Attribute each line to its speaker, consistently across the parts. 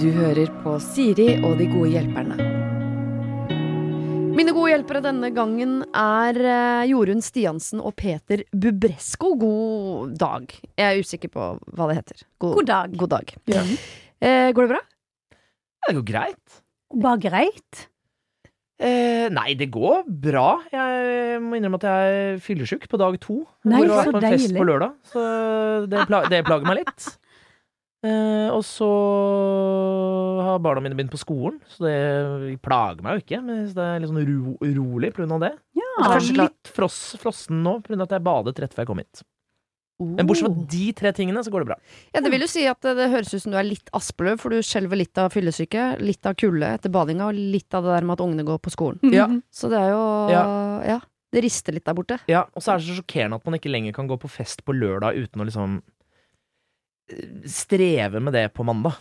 Speaker 1: Du hører på Siri og de gode hjelperne. Mine gode hjelpere denne gangen er eh, Jorunn Stiansen og Peter Bubresko. God dag. Jeg er usikker på hva det heter.
Speaker 2: God dag. Mm.
Speaker 1: God dag. Eh, går det bra?
Speaker 3: Det går greit.
Speaker 2: Bare greit.
Speaker 3: Eh, nei, det går bra. Jeg må innrømme at jeg er fyllesyk på dag to.
Speaker 2: Nei,
Speaker 3: Hvor jeg var
Speaker 2: så
Speaker 3: på en fest
Speaker 2: deilig.
Speaker 3: på lørdag, så det, pla det plager meg litt. Eh, og så har barna mine begynt på skolen, så det plager meg jo ikke. Men så det er litt sånn uro urolig på grunn av det.
Speaker 2: Ja.
Speaker 3: Jeg er
Speaker 1: Kanskje
Speaker 3: kanskje litt fross frossen nå på grunn av at jeg badet rett før jeg kom hit. Men bortsett
Speaker 2: Oh.
Speaker 3: fra de tre tingene, så går det bra.
Speaker 1: Oh. Ja, det vil jo si at det, det høres ut som du er litt Aspeløv, for du skjelver litt av fyllesyke, litt av kulde etter badinga, og litt av det der med at ungene går på skolen.
Speaker 2: Mm.
Speaker 3: Ja.
Speaker 1: Så det er jo Ja.
Speaker 3: Ja.
Speaker 1: det rister litt der borte.
Speaker 3: Ja, og så er det så sjokkerende at man ikke lenger kan gå på fest på lørdag uten å liksom eh, streve med det på mandag.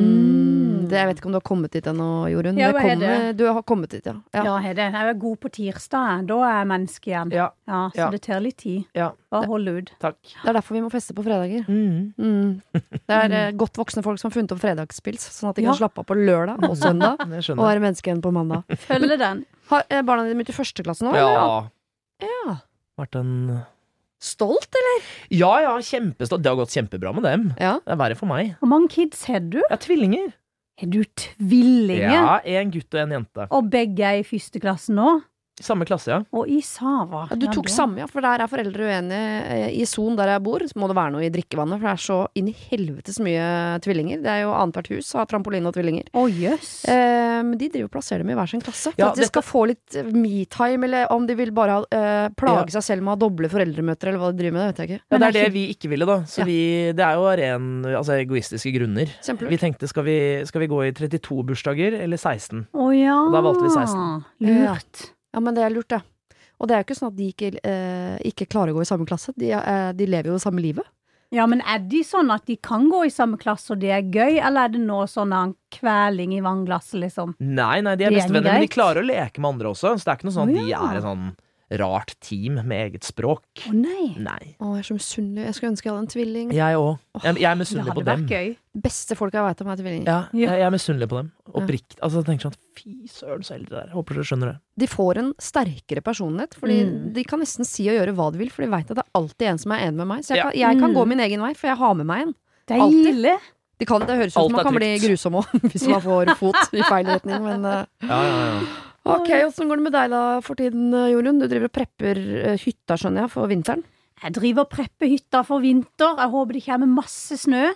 Speaker 2: Mm.
Speaker 1: Det, jeg vet ikke om du har kommet dit ennå, Jorunn.
Speaker 2: Ja, hva er
Speaker 1: kommer, du har kommet dit, ja.
Speaker 2: Ja,
Speaker 1: ja.
Speaker 2: Hede. Jeg er god på tirsdag. Da er jeg menneske igjen.
Speaker 3: Ja,
Speaker 2: Ja, så
Speaker 3: Ja.
Speaker 2: det tar litt tid.
Speaker 3: Ja.
Speaker 2: Bare hold ut.
Speaker 3: takk.
Speaker 1: Det er derfor vi må feste på fredager. Mm. Det er eh, godt voksne folk som har funnet opp fredagspils, sånn at de
Speaker 2: Ja.
Speaker 1: kan slappe av på lørdag og søndag,
Speaker 3: Jeg
Speaker 1: og
Speaker 3: skjønner.
Speaker 1: være menneske igjen på mandag.
Speaker 2: Følger den.
Speaker 1: Har eh, barna dine begynt i første klasse nå? eller?
Speaker 3: Ja.
Speaker 1: ja.
Speaker 3: Vært en
Speaker 1: Stolt, eller?
Speaker 3: Ja ja, kjempestort. Det har gått kjempebra med dem.
Speaker 1: Ja.
Speaker 3: Det er verre for meg.
Speaker 2: Hvor mange kids har du?
Speaker 3: Jeg er tvillinger.
Speaker 2: Er du tvillinger?
Speaker 3: Ja, En gutt og en jente.
Speaker 2: Og begge er i første klasse nå?
Speaker 3: I Samme klasse, ja.
Speaker 2: Og i Sava.
Speaker 1: Ja, du
Speaker 2: Ja,
Speaker 1: tok
Speaker 2: da.
Speaker 1: samme, ja, for der er foreldre uenige. Eh, I Son, der jeg bor, så må det være noe i drikkevannet, for det er så inn i helvetes mye tvillinger. Det er jo annethvert hus har trampoline og tvillinger.
Speaker 2: Å, jøss.
Speaker 1: Eh, Men de driver og plasserer dem i hver sin klasse. For
Speaker 3: Ja,
Speaker 1: at de
Speaker 3: dette-
Speaker 1: skal få litt eh, me-time, eller om de vil bare ha, eh, plage seg selv med å ha doble foreldremøter, eller hva de driver med, det vet jeg ikke.
Speaker 3: ja
Speaker 2: Men
Speaker 3: det
Speaker 2: er
Speaker 3: er det
Speaker 2: ikke-
Speaker 3: vi ikke ville, da. Så
Speaker 1: Ja.
Speaker 3: vi Det er jo av ren altså, egoistiske grunner.
Speaker 1: Kjempelurt.
Speaker 3: Vi tenkte skal vi, skal vi gå i 32 bursdager eller 16?
Speaker 2: Å ja.
Speaker 3: Da valgte vi 16.
Speaker 2: Lurt.
Speaker 1: Ja, men det er lurt, det. Og det er jo ikke sånn at de ikke, eh, ikke klarer å gå i samme klasse. De, eh, de lever jo det samme livet.
Speaker 2: Ja, men er de sånn at de kan gå i samme klasse, og det er gøy, eller er det nå sånn en kveling i vannglasset, liksom?
Speaker 3: Nei, nei, de er
Speaker 2: Det er
Speaker 3: bestevenner, men de
Speaker 2: greit.
Speaker 3: klarer å leke med andre også. Så det er ikke noe sånn at
Speaker 2: Å,
Speaker 3: de
Speaker 2: ja.
Speaker 3: er et sånn rart team med eget språk.
Speaker 2: Å nei.
Speaker 3: Nei.
Speaker 1: Å, jeg er så misunnelig. Jeg skulle ønske jeg hadde en tvilling.
Speaker 3: Jeg òg. Jeg, jeg er
Speaker 2: Det
Speaker 3: misunnelig
Speaker 2: hadde
Speaker 3: på dem.
Speaker 2: vært gøy.
Speaker 1: Beste folk jeg veit om, er tvillinger.
Speaker 3: Ja,
Speaker 2: Ja.
Speaker 3: Jeg, jeg er misunnelig på dem. Oppriktig. Altså, jeg tenker sånn Fy søren, så heldige dere er. Håper dere skjønner det.
Speaker 1: de får en sterkere personlighet. Fordi
Speaker 2: Mm.
Speaker 1: De kan nesten si og gjøre hva de vil, for de veit at det er alltid en som er enig med meg. Så jeg,
Speaker 3: Ja.
Speaker 1: kan, jeg kan
Speaker 2: Mm.
Speaker 1: gå min egen vei, for jeg har med meg en.
Speaker 2: Deilig.
Speaker 1: Det, kan, det høres ut som
Speaker 3: Alt
Speaker 1: man
Speaker 3: er
Speaker 1: kan bli
Speaker 3: trygt.
Speaker 1: grusom òg, hvis man får fot i feil retning. Men eh,
Speaker 3: Ja, ja, ja.
Speaker 1: ok, åssen går det med deg da for tiden, eh, Jorunn? Du driver og prepper eh, hytta, skjønner jeg, for vinteren.
Speaker 2: Jeg driver og prepper hytta for vinter. Jeg håper det kommer masse snø.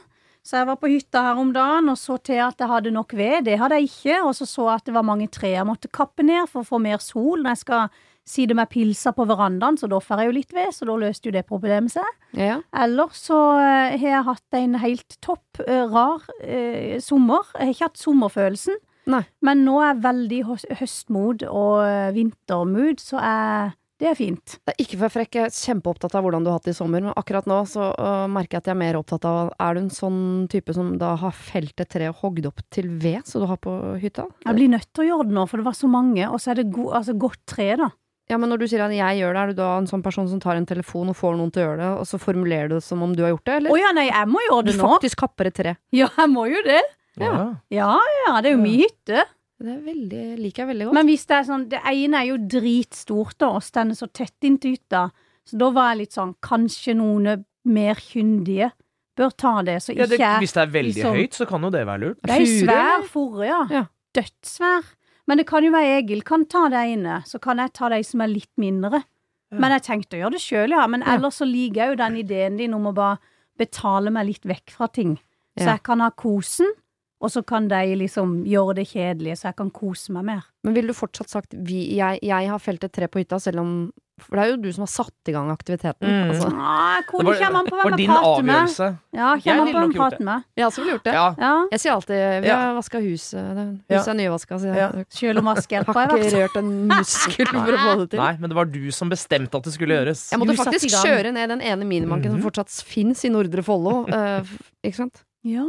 Speaker 2: Så jeg var på hytta her om dagen og så til at jeg hadde nok ved. Det hadde jeg ikke. Og så så jeg at det var mange tre jeg måtte kappe ned for å få mer sol når jeg skal side med pilsa på verandaen, så da får jeg jo litt ved, så da løste jo det problemet seg.
Speaker 1: Ja, ja.
Speaker 2: Eller så eh, har jeg hatt en helt topp eh, rar eh, sommer. Jeg har ikke hatt sommerfølelsen,
Speaker 1: Nei.
Speaker 2: men nå er jeg veldig i høs- høstmod og eh, vintermod, så jeg, det er fint.
Speaker 1: Det er ikke for å være frekk, jeg er kjempeopptatt av hvordan du har hatt det i sommer, men akkurat nå så øh, merker jeg at jeg er mer opptatt av Er du en sånn type som da har felt et tre og hogd opp til ved, som du har på hytta?
Speaker 2: Jeg blir nødt til å gjøre det nå, for det var så mange, og så er det go altså, godt tre, da.
Speaker 1: Ja, men når du sier at jeg gjør det, er du da en sånn person som tar en telefon og får noen til å gjøre det, og så formulerer du det som om du har gjort det,
Speaker 2: Å
Speaker 1: eller?
Speaker 2: ja, nei, jeg må gjøre
Speaker 1: du
Speaker 2: det nå.
Speaker 1: faktisk kapper et tre.
Speaker 2: Ja, jeg må jo det.
Speaker 3: ja.
Speaker 2: Ja, ja, det er jo min hytte.
Speaker 1: Det er veldig, liker jeg veldig godt.
Speaker 2: Men hvis det er sånn, det ene er jo dritstort da, og stender så tett inntil hytta, så da var jeg litt sånn, kanskje noen mer kyndige bør ta det, så
Speaker 3: Ja,
Speaker 2: ikke
Speaker 3: det,
Speaker 2: jeg
Speaker 3: hvis det er veldig
Speaker 2: liksom-
Speaker 3: høyt, så kan jo det være lurt.
Speaker 2: Det er ei
Speaker 1: Furu,
Speaker 2: svær
Speaker 1: eller?
Speaker 2: fore, ja.
Speaker 1: Ja.
Speaker 2: Dødssvær. Men det kan jo være Egil kan ta det ene, så kan jeg ta de som er litt mindre.
Speaker 3: Ja.
Speaker 2: Men jeg tenkte å gjøre det sjøl, ja. Men
Speaker 1: Ja.
Speaker 2: ellers så liker jeg jo den ideen din om å bare betale meg litt vekk fra ting. Så
Speaker 1: Ja.
Speaker 2: jeg kan ha kosen, og så kan de liksom gjøre det kjedelige, så jeg kan kose meg mer.
Speaker 1: Men ville du fortsatt sagt vi, jeg, 'jeg har felt et tre på hytta', selv om For det er jo du som har satt i gang aktiviteten.
Speaker 3: Mm.
Speaker 1: Altså.
Speaker 2: Ah,
Speaker 3: Det
Speaker 2: hvor det
Speaker 3: var-
Speaker 2: kommer an på
Speaker 3: var
Speaker 2: hvem jeg
Speaker 3: din
Speaker 2: prater med.
Speaker 3: avgjørelse.
Speaker 2: Ja,
Speaker 3: Jeg
Speaker 2: kommer an
Speaker 3: ville
Speaker 2: på hvem jeg
Speaker 3: nok gjort
Speaker 2: prater med.
Speaker 1: Jeg også ville gjort det.
Speaker 3: Ja.
Speaker 2: Ja,
Speaker 1: Jeg sier alltid 'vi
Speaker 3: Ja.
Speaker 1: har vaska huset'. det-
Speaker 3: Ja.
Speaker 1: Huset er nyvaska, så jeg
Speaker 3: Ja.
Speaker 1: jeg
Speaker 2: sjøl om
Speaker 1: har
Speaker 2: vaskehjelpa har
Speaker 1: ikke
Speaker 2: vært
Speaker 1: rørt en muskel for å få det til.
Speaker 3: Nei, men det var du som bestemte at det skulle gjøres.
Speaker 1: Jeg måtte
Speaker 2: Du satte
Speaker 1: faktisk
Speaker 2: i gang.
Speaker 1: kjøre ned den ene minibanken som
Speaker 3: Mhm.
Speaker 1: fortsatt fins i Nordre Follo. eh, f- ikke sant?
Speaker 2: Ja.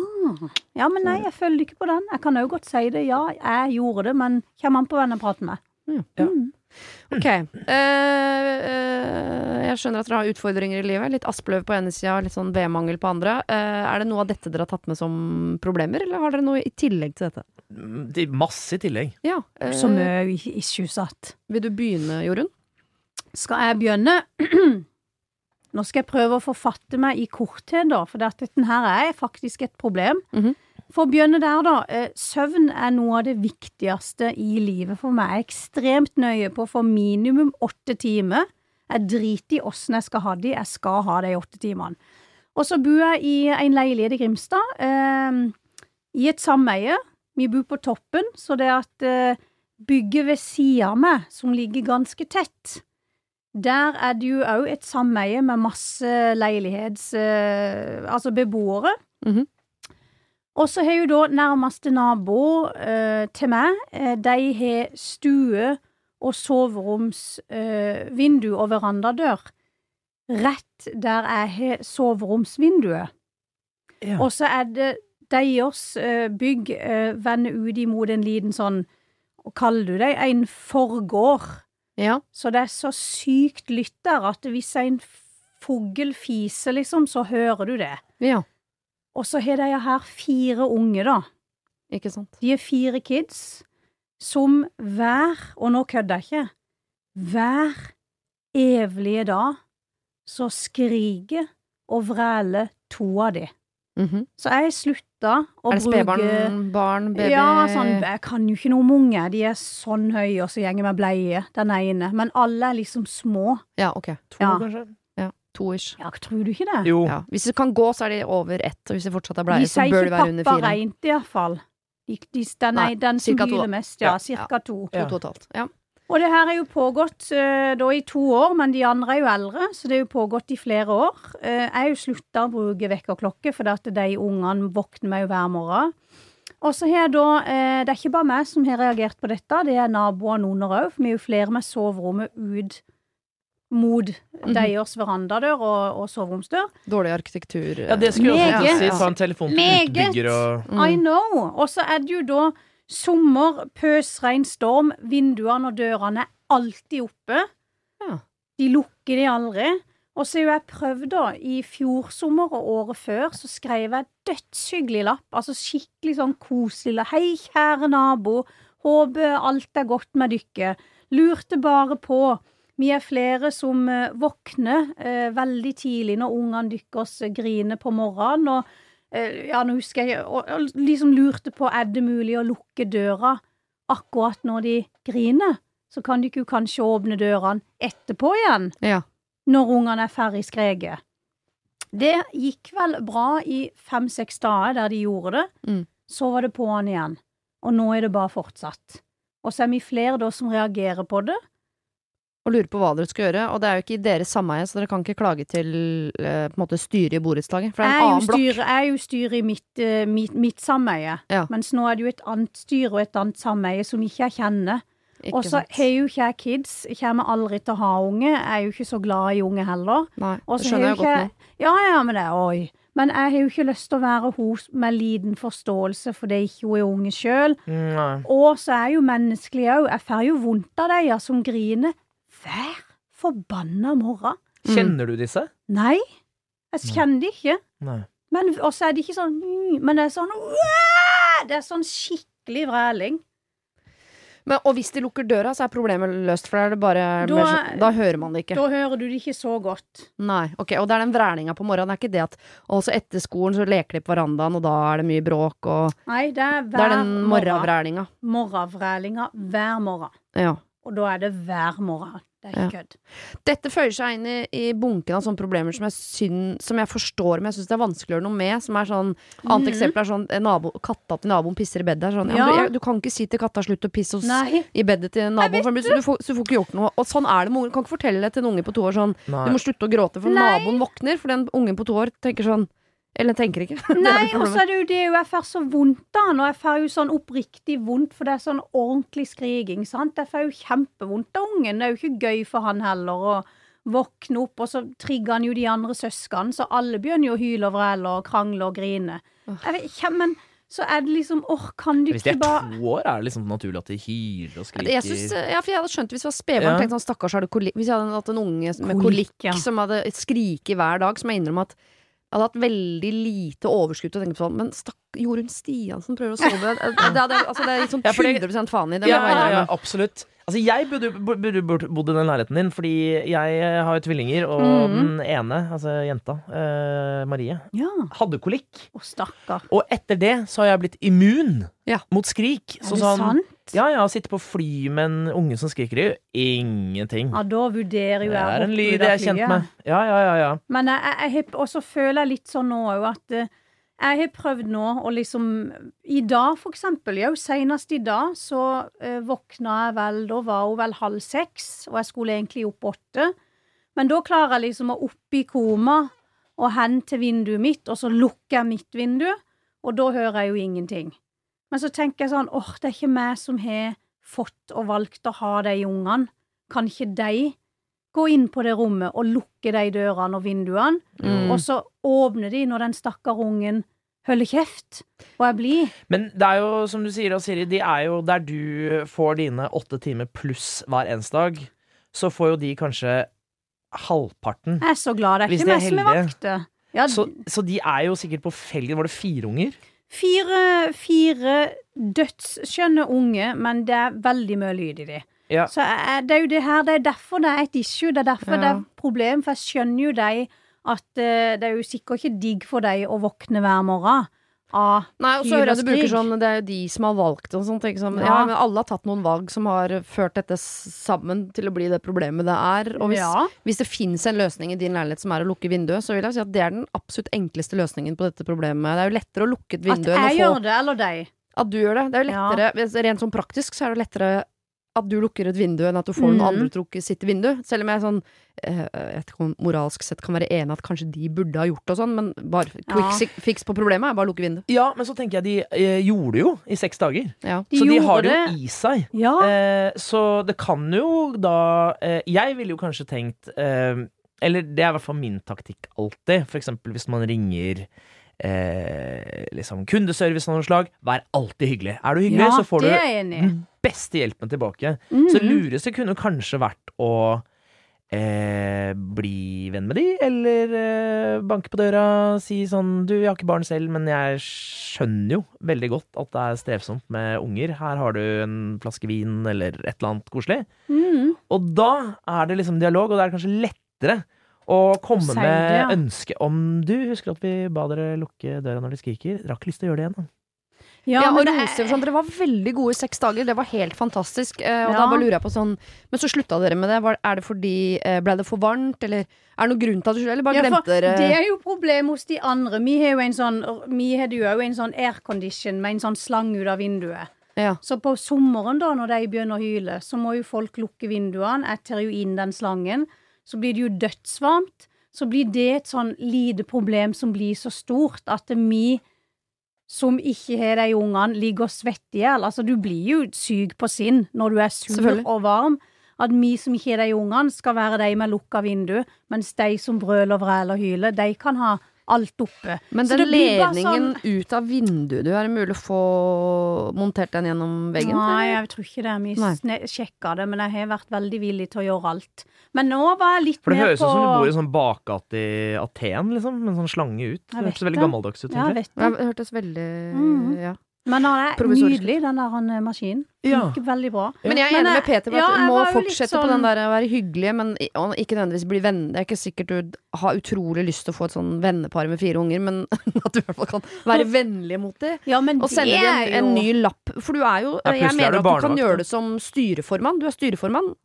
Speaker 2: ja, men nei, jeg følger ikke på den. Jeg kan jo godt si det. Ja, jeg gjorde det, men kommer an på hvem jeg prater med.
Speaker 3: Ja.
Speaker 1: Mm. Ok. Eh, eh, jeg skjønner at dere har utfordringer i livet. Litt aspløv på ene sida, litt sånn vedmangel på andre. Eh, er det noe av dette dere har tatt med som problemer, eller har dere noe i tillegg til dette?
Speaker 3: Mm, det- Masse i tillegg.
Speaker 1: Ja. eh,
Speaker 2: Så mye issues at
Speaker 1: vil du begynne, Jorunn?
Speaker 2: Skal jeg begynne? Nå skal jeg prøve å forfatte meg i korthet, da, for dette dette her er faktisk et problem.
Speaker 1: Mhm.
Speaker 2: For å begynne der, da. eh, Søvn er noe av det viktigste i livet for meg. Jeg er ekstremt nøye på å få minimum åtte timer. Jeg driter i åssen jeg skal ha de, jeg skal ha de åtte timene. Og så bor jeg i en leilighet i Grimstad, eh, i et sameie. Vi bor på toppen, så det at eh, bygget ved sida av meg, som ligger ganske tett, der er det jo òg et sameie med masse leilighets... eh, altså beboere.
Speaker 1: Mhm.
Speaker 2: Og så har jo da nærmeste nabo eh, til meg, eh, de har stue og soveromsvindu og verandadør rett der jeg har soveromsvinduet.
Speaker 3: Ja.
Speaker 2: Og så er det deres eh, bygg eh, vender ut imot en liten sånn, hva kaller du det, en forgård.
Speaker 1: Ja.
Speaker 2: Så det er så sykt lytt der at hvis en fugl fiser, liksom, så hører du det.
Speaker 1: ja.
Speaker 2: Og så har de her fire unge, da.
Speaker 1: Ikke sant.
Speaker 2: De er fire kids som hver, og nå kødder jeg ikke, hver evige dag så skriker og vræler to av de.
Speaker 1: Mhm.
Speaker 2: Så jeg slutta å
Speaker 1: Er det
Speaker 2: bruke
Speaker 1: spedbarn, barn, baby
Speaker 2: Ja, sånn, jeg kan jo ikke noe om unge. De er sånn høye, og så gjenger med bleie, den ene. Men alle er liksom små.
Speaker 1: Ja, ok.
Speaker 3: To,
Speaker 2: Ja.
Speaker 3: kanskje?
Speaker 1: Ja. To-ish.
Speaker 2: Ja, tror du ikke det?
Speaker 3: Jo.
Speaker 1: Ja. Hvis det kan gå, så er de over ett, og hvis det fortsatt er bleie,
Speaker 2: De
Speaker 1: så
Speaker 2: sier
Speaker 1: bør det
Speaker 2: ikke
Speaker 1: være under
Speaker 2: pappa
Speaker 1: fire.
Speaker 2: reint, iallfall. De, de, den,
Speaker 1: Nei,
Speaker 2: er- den som
Speaker 1: cirka to,
Speaker 2: hyler
Speaker 1: da.
Speaker 2: mest, ja.
Speaker 3: Ja,
Speaker 2: Cirka to.
Speaker 1: To, to og et halvt. Ja.
Speaker 2: Og det her er jo pågått eh, da i to år, men de andre er jo eldre, så det er jo pågått i flere år. Eh, jeg har jo slutta å bruke vekkerklokke, for at de ungene våkner meg jo hver morgen. Og så har jeg da eh, Det er ikke bare meg som har reagert på dette, det er naboene under òg, for vi er jo flere med soverommet ut mot
Speaker 1: Mhm.
Speaker 2: deres verandadør og, og soveromsdør.
Speaker 1: Dårlig arkitektur. eh, Mm.
Speaker 3: Ja, det skulle jeg også
Speaker 2: Meget.
Speaker 3: til å si. Ta en telefon til
Speaker 2: Meget.
Speaker 3: utbygger og
Speaker 2: I know! Og så er det jo da sommer, pøsregn, storm, vinduene og dørene er alltid oppe.
Speaker 1: Ja.
Speaker 2: De lukker de aldri. Og så har jo jeg prøvd, da, i fjor sommer og året før, så skrev jeg dødshyggelig lapp. Altså skikkelig sånn koselig. la- Hei, kjære nabo. Håper alt er godt med dere. Lurte bare på. Vi er flere som eh, våkner eh, veldig tidlig når ungene deres eh, griner på morgenen. Og eh, ja, nå husker jeg og, og liksom lurte på er det mulig å lukke døra akkurat når de griner. Så kan de ikke kanskje åpne dørene etterpå igjen
Speaker 1: Ja.
Speaker 2: når ungene er ferdig skreket. Det gikk vel bra i fem-seks dager der de gjorde det.
Speaker 1: Mm.
Speaker 2: Så var det på'n igjen. Og nå er det bare fortsatt. Og så er vi flere da som reagerer på det.
Speaker 1: og lurer på hva dere skal gjøre. Og det er jo ikke i deres sameie, så dere kan ikke klage til eh, på en måte styret i borettslaget. For det er
Speaker 2: Jeg
Speaker 1: en
Speaker 2: er jo
Speaker 1: annen blokk.
Speaker 2: styret er jo styre i mitt, eh, mitt, mitt sameie,
Speaker 1: Ja.
Speaker 2: mens nå er det jo et annet styre og et annet sameie som ikke jeg kjenner.
Speaker 1: Ikke
Speaker 2: Og så
Speaker 1: sant?
Speaker 2: har jo ikke jeg kids, kommer aldri til å ha unge, jeg er jo ikke så glad i unge heller.
Speaker 1: Nei,
Speaker 2: Og
Speaker 1: det
Speaker 2: så
Speaker 1: skjønner
Speaker 2: har
Speaker 1: jeg
Speaker 2: jo
Speaker 1: godt
Speaker 2: ikke-
Speaker 1: nå.
Speaker 2: Ja, ja, men det er oi. Men jeg har jo ikke lyst til å være hun med liten forståelse, for det er ikke hun er unge sjøl.
Speaker 3: Mm, nei.
Speaker 2: Og så er jeg jo menneskelig òg. Jeg får jo vondt av de ja, som griner hver forbanna morgen.
Speaker 3: Kjenner du disse?
Speaker 2: Nei, jeg kjenner de ikke.
Speaker 3: Nei.
Speaker 2: Men også er det ikke sånn mm, Men det er sånn «Uæ!» Det er sånn skikkelig vræling.
Speaker 1: Men, og hvis de lukker døra, så er problemet løst, for da er det bare
Speaker 2: Da-
Speaker 1: mer sånn, Da hører man det ikke.
Speaker 2: Da hører du det ikke så godt.
Speaker 1: Nei. Ok, og det er den vrælinga på morgenen. Det er ikke det at Og så etter skolen så leker de på verandaen, og da er det mye bråk, og
Speaker 2: Nei, det er
Speaker 1: Det
Speaker 2: hver
Speaker 1: er den
Speaker 2: morgen.
Speaker 1: morgenvrælinga.
Speaker 2: Morgenvrælinga hver morgen.
Speaker 1: Ja.
Speaker 2: Og da er det hver morgen. Det er ikke kødd.
Speaker 1: Dette føyer seg inn i, i bunken av sånne problemer som jeg, syn- som jeg forstår, men jeg syns det er vanskelig å gjøre noe med. Som er sånn, annet eksempel er sånn eh, nabo, katta til naboen pisser i bedet. Det er Sånn, ja, men
Speaker 2: Mhm. Ja.
Speaker 1: du, jeg, du kan ikke si til katta 'slutt å pisse' hos,
Speaker 2: Nei.
Speaker 1: i bedet til naboen, for så du, får, så du får ikke gjort noe. Og sånn er det med unger. Du Kan ikke fortelle det til en unge på to år sånn
Speaker 3: Nei.
Speaker 1: 'du må slutte å gråte', for
Speaker 2: Nei.
Speaker 1: naboen våkner, for den ungen på to år tenker sånn Eller tenker ikke. Det er
Speaker 2: Nei,
Speaker 1: det
Speaker 2: og
Speaker 1: problemet.
Speaker 2: så er det jo det jo jeg får så vondt av han, og jeg får jo sånn oppriktig vondt, for det er sånn ordentlig skriking, sant. Jeg får jo kjempevondt av ungen, det er jo ikke gøy for han heller å våkne opp, og så trigger han jo de andre søskene, så alle begynner jo å hyle og vræle og krangle og grine. Jeg vet ikke, men så er det liksom åh, kan du
Speaker 3: Hvis de
Speaker 2: ikke
Speaker 3: er
Speaker 2: bare
Speaker 3: to år, er det liksom naturlig at de hyler og skriker.
Speaker 1: Jeg, synes, eh, ja, for jeg hadde skjønt det hvis det var spedbarn.
Speaker 3: Ja.
Speaker 1: Tenkt sånn, stakkars, har du kolikk? Hvis jeg hadde hatt en unge med kolikk,
Speaker 2: Kolikk, ja.
Speaker 1: som hadde skriket hver dag, som jeg innrømmer at jeg hadde hatt veldig lite overskudd til å tenke på sånn, men stakk, Jorunn Stiansen prøver å sove. Det, det, hadde, jeg- altså, det er liksom
Speaker 3: Ja, for det-
Speaker 1: 100 faen i det. må
Speaker 3: ja,
Speaker 1: jeg bare
Speaker 3: ja, ja,
Speaker 1: innrømme.
Speaker 3: absolutt. Altså, jeg burde, burde- burde burde bodd i den leiligheten din, fordi jeg eh, har jo tvillinger, og
Speaker 2: Mhm.
Speaker 3: den ene, altså jenta, eh, Marie,
Speaker 2: Ja.
Speaker 3: hadde kolikk.
Speaker 2: Å, stakkar.
Speaker 3: Og etter det så har jeg blitt immun
Speaker 1: Ja.
Speaker 3: mot skrik.
Speaker 2: Er
Speaker 3: Så
Speaker 2: det
Speaker 3: sånn,
Speaker 2: sant?
Speaker 3: ja, ja, sitte på fly med en unge som skriker, det gjør ingenting.
Speaker 2: Ja, da vurderer jo jeg
Speaker 3: Det
Speaker 2: å
Speaker 3: er en
Speaker 2: hoppe ut
Speaker 3: lyd
Speaker 2: av
Speaker 3: jeg er kjent
Speaker 2: flyet.
Speaker 3: med. Ja, ja, ja, ja.
Speaker 2: Men jeg, jeg, jeg har- også føler jeg litt sånn nå òg at eh, jeg har prøvd nå å liksom I dag, for eksempel. Jo, senest i dag så eh, våkna jeg vel Da var hun vel halv seks, og jeg skulle egentlig opp åtte. Men da klarer jeg liksom å opp i koma og hen til vinduet mitt, og så lukker jeg mitt vindu, og da hører jeg jo ingenting. Men så tenker jeg sånn, åh, det er ikke meg som har fått og valgt å ha de ungene. Kan ikke de gå inn på det rommet og lukke de dørene og vinduene,
Speaker 1: Mm.
Speaker 2: og så åpner de når den stakkar ungen holder kjeft, og jeg blir
Speaker 3: Men det er jo, som du sier, da, Siri, de er jo der du får dine åtte timer pluss hver eneste dag, så får jo de kanskje halvparten.
Speaker 2: Jeg er så glad det er
Speaker 3: Hvis
Speaker 2: ikke
Speaker 3: de er
Speaker 2: meg som er
Speaker 3: heldige.
Speaker 2: vakte. Ja,
Speaker 3: Så, så de er jo sikkert på felgen. Var det fire unger?
Speaker 2: fire, fire dødsskjønne unge, men det er veldig mye lyd i de.
Speaker 3: Ja.
Speaker 2: Så jeg, jeg- det er jo det her, det er derfor det er et issue, det er derfor
Speaker 1: Ja.
Speaker 2: det er et problem, for jeg skjønner jo de at eh, det er jo sikkert ikke digg for de å våkne hver morgen Ah, av
Speaker 1: Nei, og så hører jeg du bruker
Speaker 2: Hylerskrig.
Speaker 1: sånn Det er jo de som har valgt og sånt, tenker jeg sånn. ja.
Speaker 2: Ja.
Speaker 1: men alle har tatt noen valg som har ført dette s- sammen til å bli det problemet det er. Og hvis,
Speaker 2: Ja.
Speaker 1: hvis det fins en løsning i din leilighet som er å lukke vinduet, så vil jeg si at det er den absolutt enkleste løsningen på dette problemet. Det er jo lettere å lukke et
Speaker 2: At
Speaker 1: vindu enn å
Speaker 2: jeg
Speaker 1: få
Speaker 2: gjør det, eller
Speaker 3: Eh,
Speaker 2: de.
Speaker 1: At du gjør det. Det er jo lettere hvis- Rent sånn praktisk så er det lettere at du lukker et vindu enn at du får
Speaker 2: Mhm.
Speaker 1: noen andre til å lukke sitt vindu. Selv om jeg sånn eh, jeg vet ikke om moralsk sett kan være enig at kanskje de burde ha gjort det og sånn, men bare quick
Speaker 2: Ja.
Speaker 1: si- fix på problemet er bare å lukke vinduet.
Speaker 3: Ja, men så tenker jeg de eh, gjorde det jo i seks dager.
Speaker 1: Ja.
Speaker 2: De
Speaker 3: så de
Speaker 2: gjorde
Speaker 3: har det
Speaker 2: det. Ah.
Speaker 3: jo i seg.
Speaker 2: Ja.
Speaker 3: Eh, så det kan jo da eh, Jeg ville jo kanskje tenkt eh, Eller det er i hvert fall min taktikk alltid. For eksempel hvis man ringer eh, liksom kundeservice av noe slag. Vær alltid hyggelig. Er du hyggelig,
Speaker 2: ja,
Speaker 3: så får
Speaker 2: det
Speaker 3: du
Speaker 2: er jeg enig i.
Speaker 3: den beste hjelpen tilbake.
Speaker 2: Mhm.
Speaker 3: Så lureste kunne kanskje vært å eh, bli venn med de, eller eh, banke på døra, si sånn Du, jeg har ikke barn selv, men jeg skjønner jo veldig godt at det er strevsomt med unger. Her har du en flaske vin, eller et eller annet koselig.
Speaker 1: Mm.
Speaker 2: Mhm.
Speaker 3: Og da er det liksom dialog, og da er det kanskje lettere. å komme
Speaker 2: Å si det,
Speaker 3: med
Speaker 2: ja.
Speaker 3: ønske om Du, husker at vi ba dere lukke døra når de skriker? Dere har ikke lyst til å gjøre det igjen, da.
Speaker 1: Ja, og
Speaker 2: men det
Speaker 1: roser for sånn, Dere var veldig gode i seks dager, det var helt fantastisk. Eh, og
Speaker 2: Ja.
Speaker 1: da bare lurer jeg på sånn Men så slutta dere med det. Var, er det fordi eh, Ble det for varmt, eller er det noen grunn til at du slutta, eller bare
Speaker 2: Ja, for
Speaker 1: glemte dere
Speaker 2: Det er jo problemet hos de andre. Vi har jo en sånn, vi hadde jo også en sånn aircondition med en sånn slang ut av vinduet.
Speaker 1: ja.
Speaker 2: Så på sommeren, da, når de begynner å hyle, så må jo folk lukke vinduene. Jeg tar jo inn den slangen. Så blir det jo dødsvarmt. Så blir det et sånn lite problem som blir så stort at vi som ikke har de ungene, ligger og svetter i hjel. Altså, du blir jo syk på sinn når du er sur
Speaker 1: Selvfølgelig.
Speaker 2: og varm. At vi som ikke har de ungene, skal være de med lukka vindu, mens de som brøler, vræler og hyler, de kan ha alt oppe.
Speaker 1: Men
Speaker 2: Så
Speaker 1: den
Speaker 2: det blir bare
Speaker 1: ledningen
Speaker 2: sånn-
Speaker 1: ut av vinduet du er det mulig å få montert den gjennom veggen?
Speaker 2: Nei,
Speaker 1: eller?
Speaker 2: jeg tror ikke det. Vi
Speaker 1: Nei.
Speaker 2: sne- sjekka det, men jeg har vært veldig villig til å gjøre alt. Men nå var jeg litt
Speaker 3: For det
Speaker 2: mer
Speaker 3: høres
Speaker 2: på
Speaker 3: ut som du bor i sånn bakgate i Aten, liksom, med en sånn slange ut.
Speaker 2: Jeg
Speaker 3: Det
Speaker 2: vet
Speaker 3: høres veldig
Speaker 2: det.
Speaker 3: gammeldags ut,
Speaker 2: Ja, jeg
Speaker 3: egentlig.
Speaker 2: vet
Speaker 1: Ja,
Speaker 2: det.
Speaker 1: det hørtes veldig
Speaker 2: Mhm.
Speaker 1: ja.
Speaker 2: Men han er
Speaker 1: Provisorisk.
Speaker 2: nydelig, den der han, eh, maskinen.
Speaker 3: Ja.
Speaker 2: Funker veldig bra.
Speaker 1: Men jeg er
Speaker 2: Men
Speaker 1: enig
Speaker 2: jeg-
Speaker 1: med Peter på at
Speaker 2: ja, jeg
Speaker 1: du må
Speaker 2: var jo litt
Speaker 1: fortsette på
Speaker 2: sånn-
Speaker 1: den der å være hyggelige, men i- og ikke nødvendigvis bli venn. Det er ikke sikkert du har utrolig lyst til å få et sånn vennepar med fire unger, men at du i hvert fall kan være vennlig mot dem.
Speaker 2: Ja, men
Speaker 1: Og
Speaker 2: det
Speaker 1: sende dem en,
Speaker 2: er
Speaker 1: en
Speaker 2: jo
Speaker 1: ny lapp. For du er jo
Speaker 3: Ja, plutselig
Speaker 1: Jeg
Speaker 3: er
Speaker 1: mener
Speaker 3: du
Speaker 1: at du kan
Speaker 3: barnevakt, da.
Speaker 1: gjøre det som styreformann. Du er styreformann.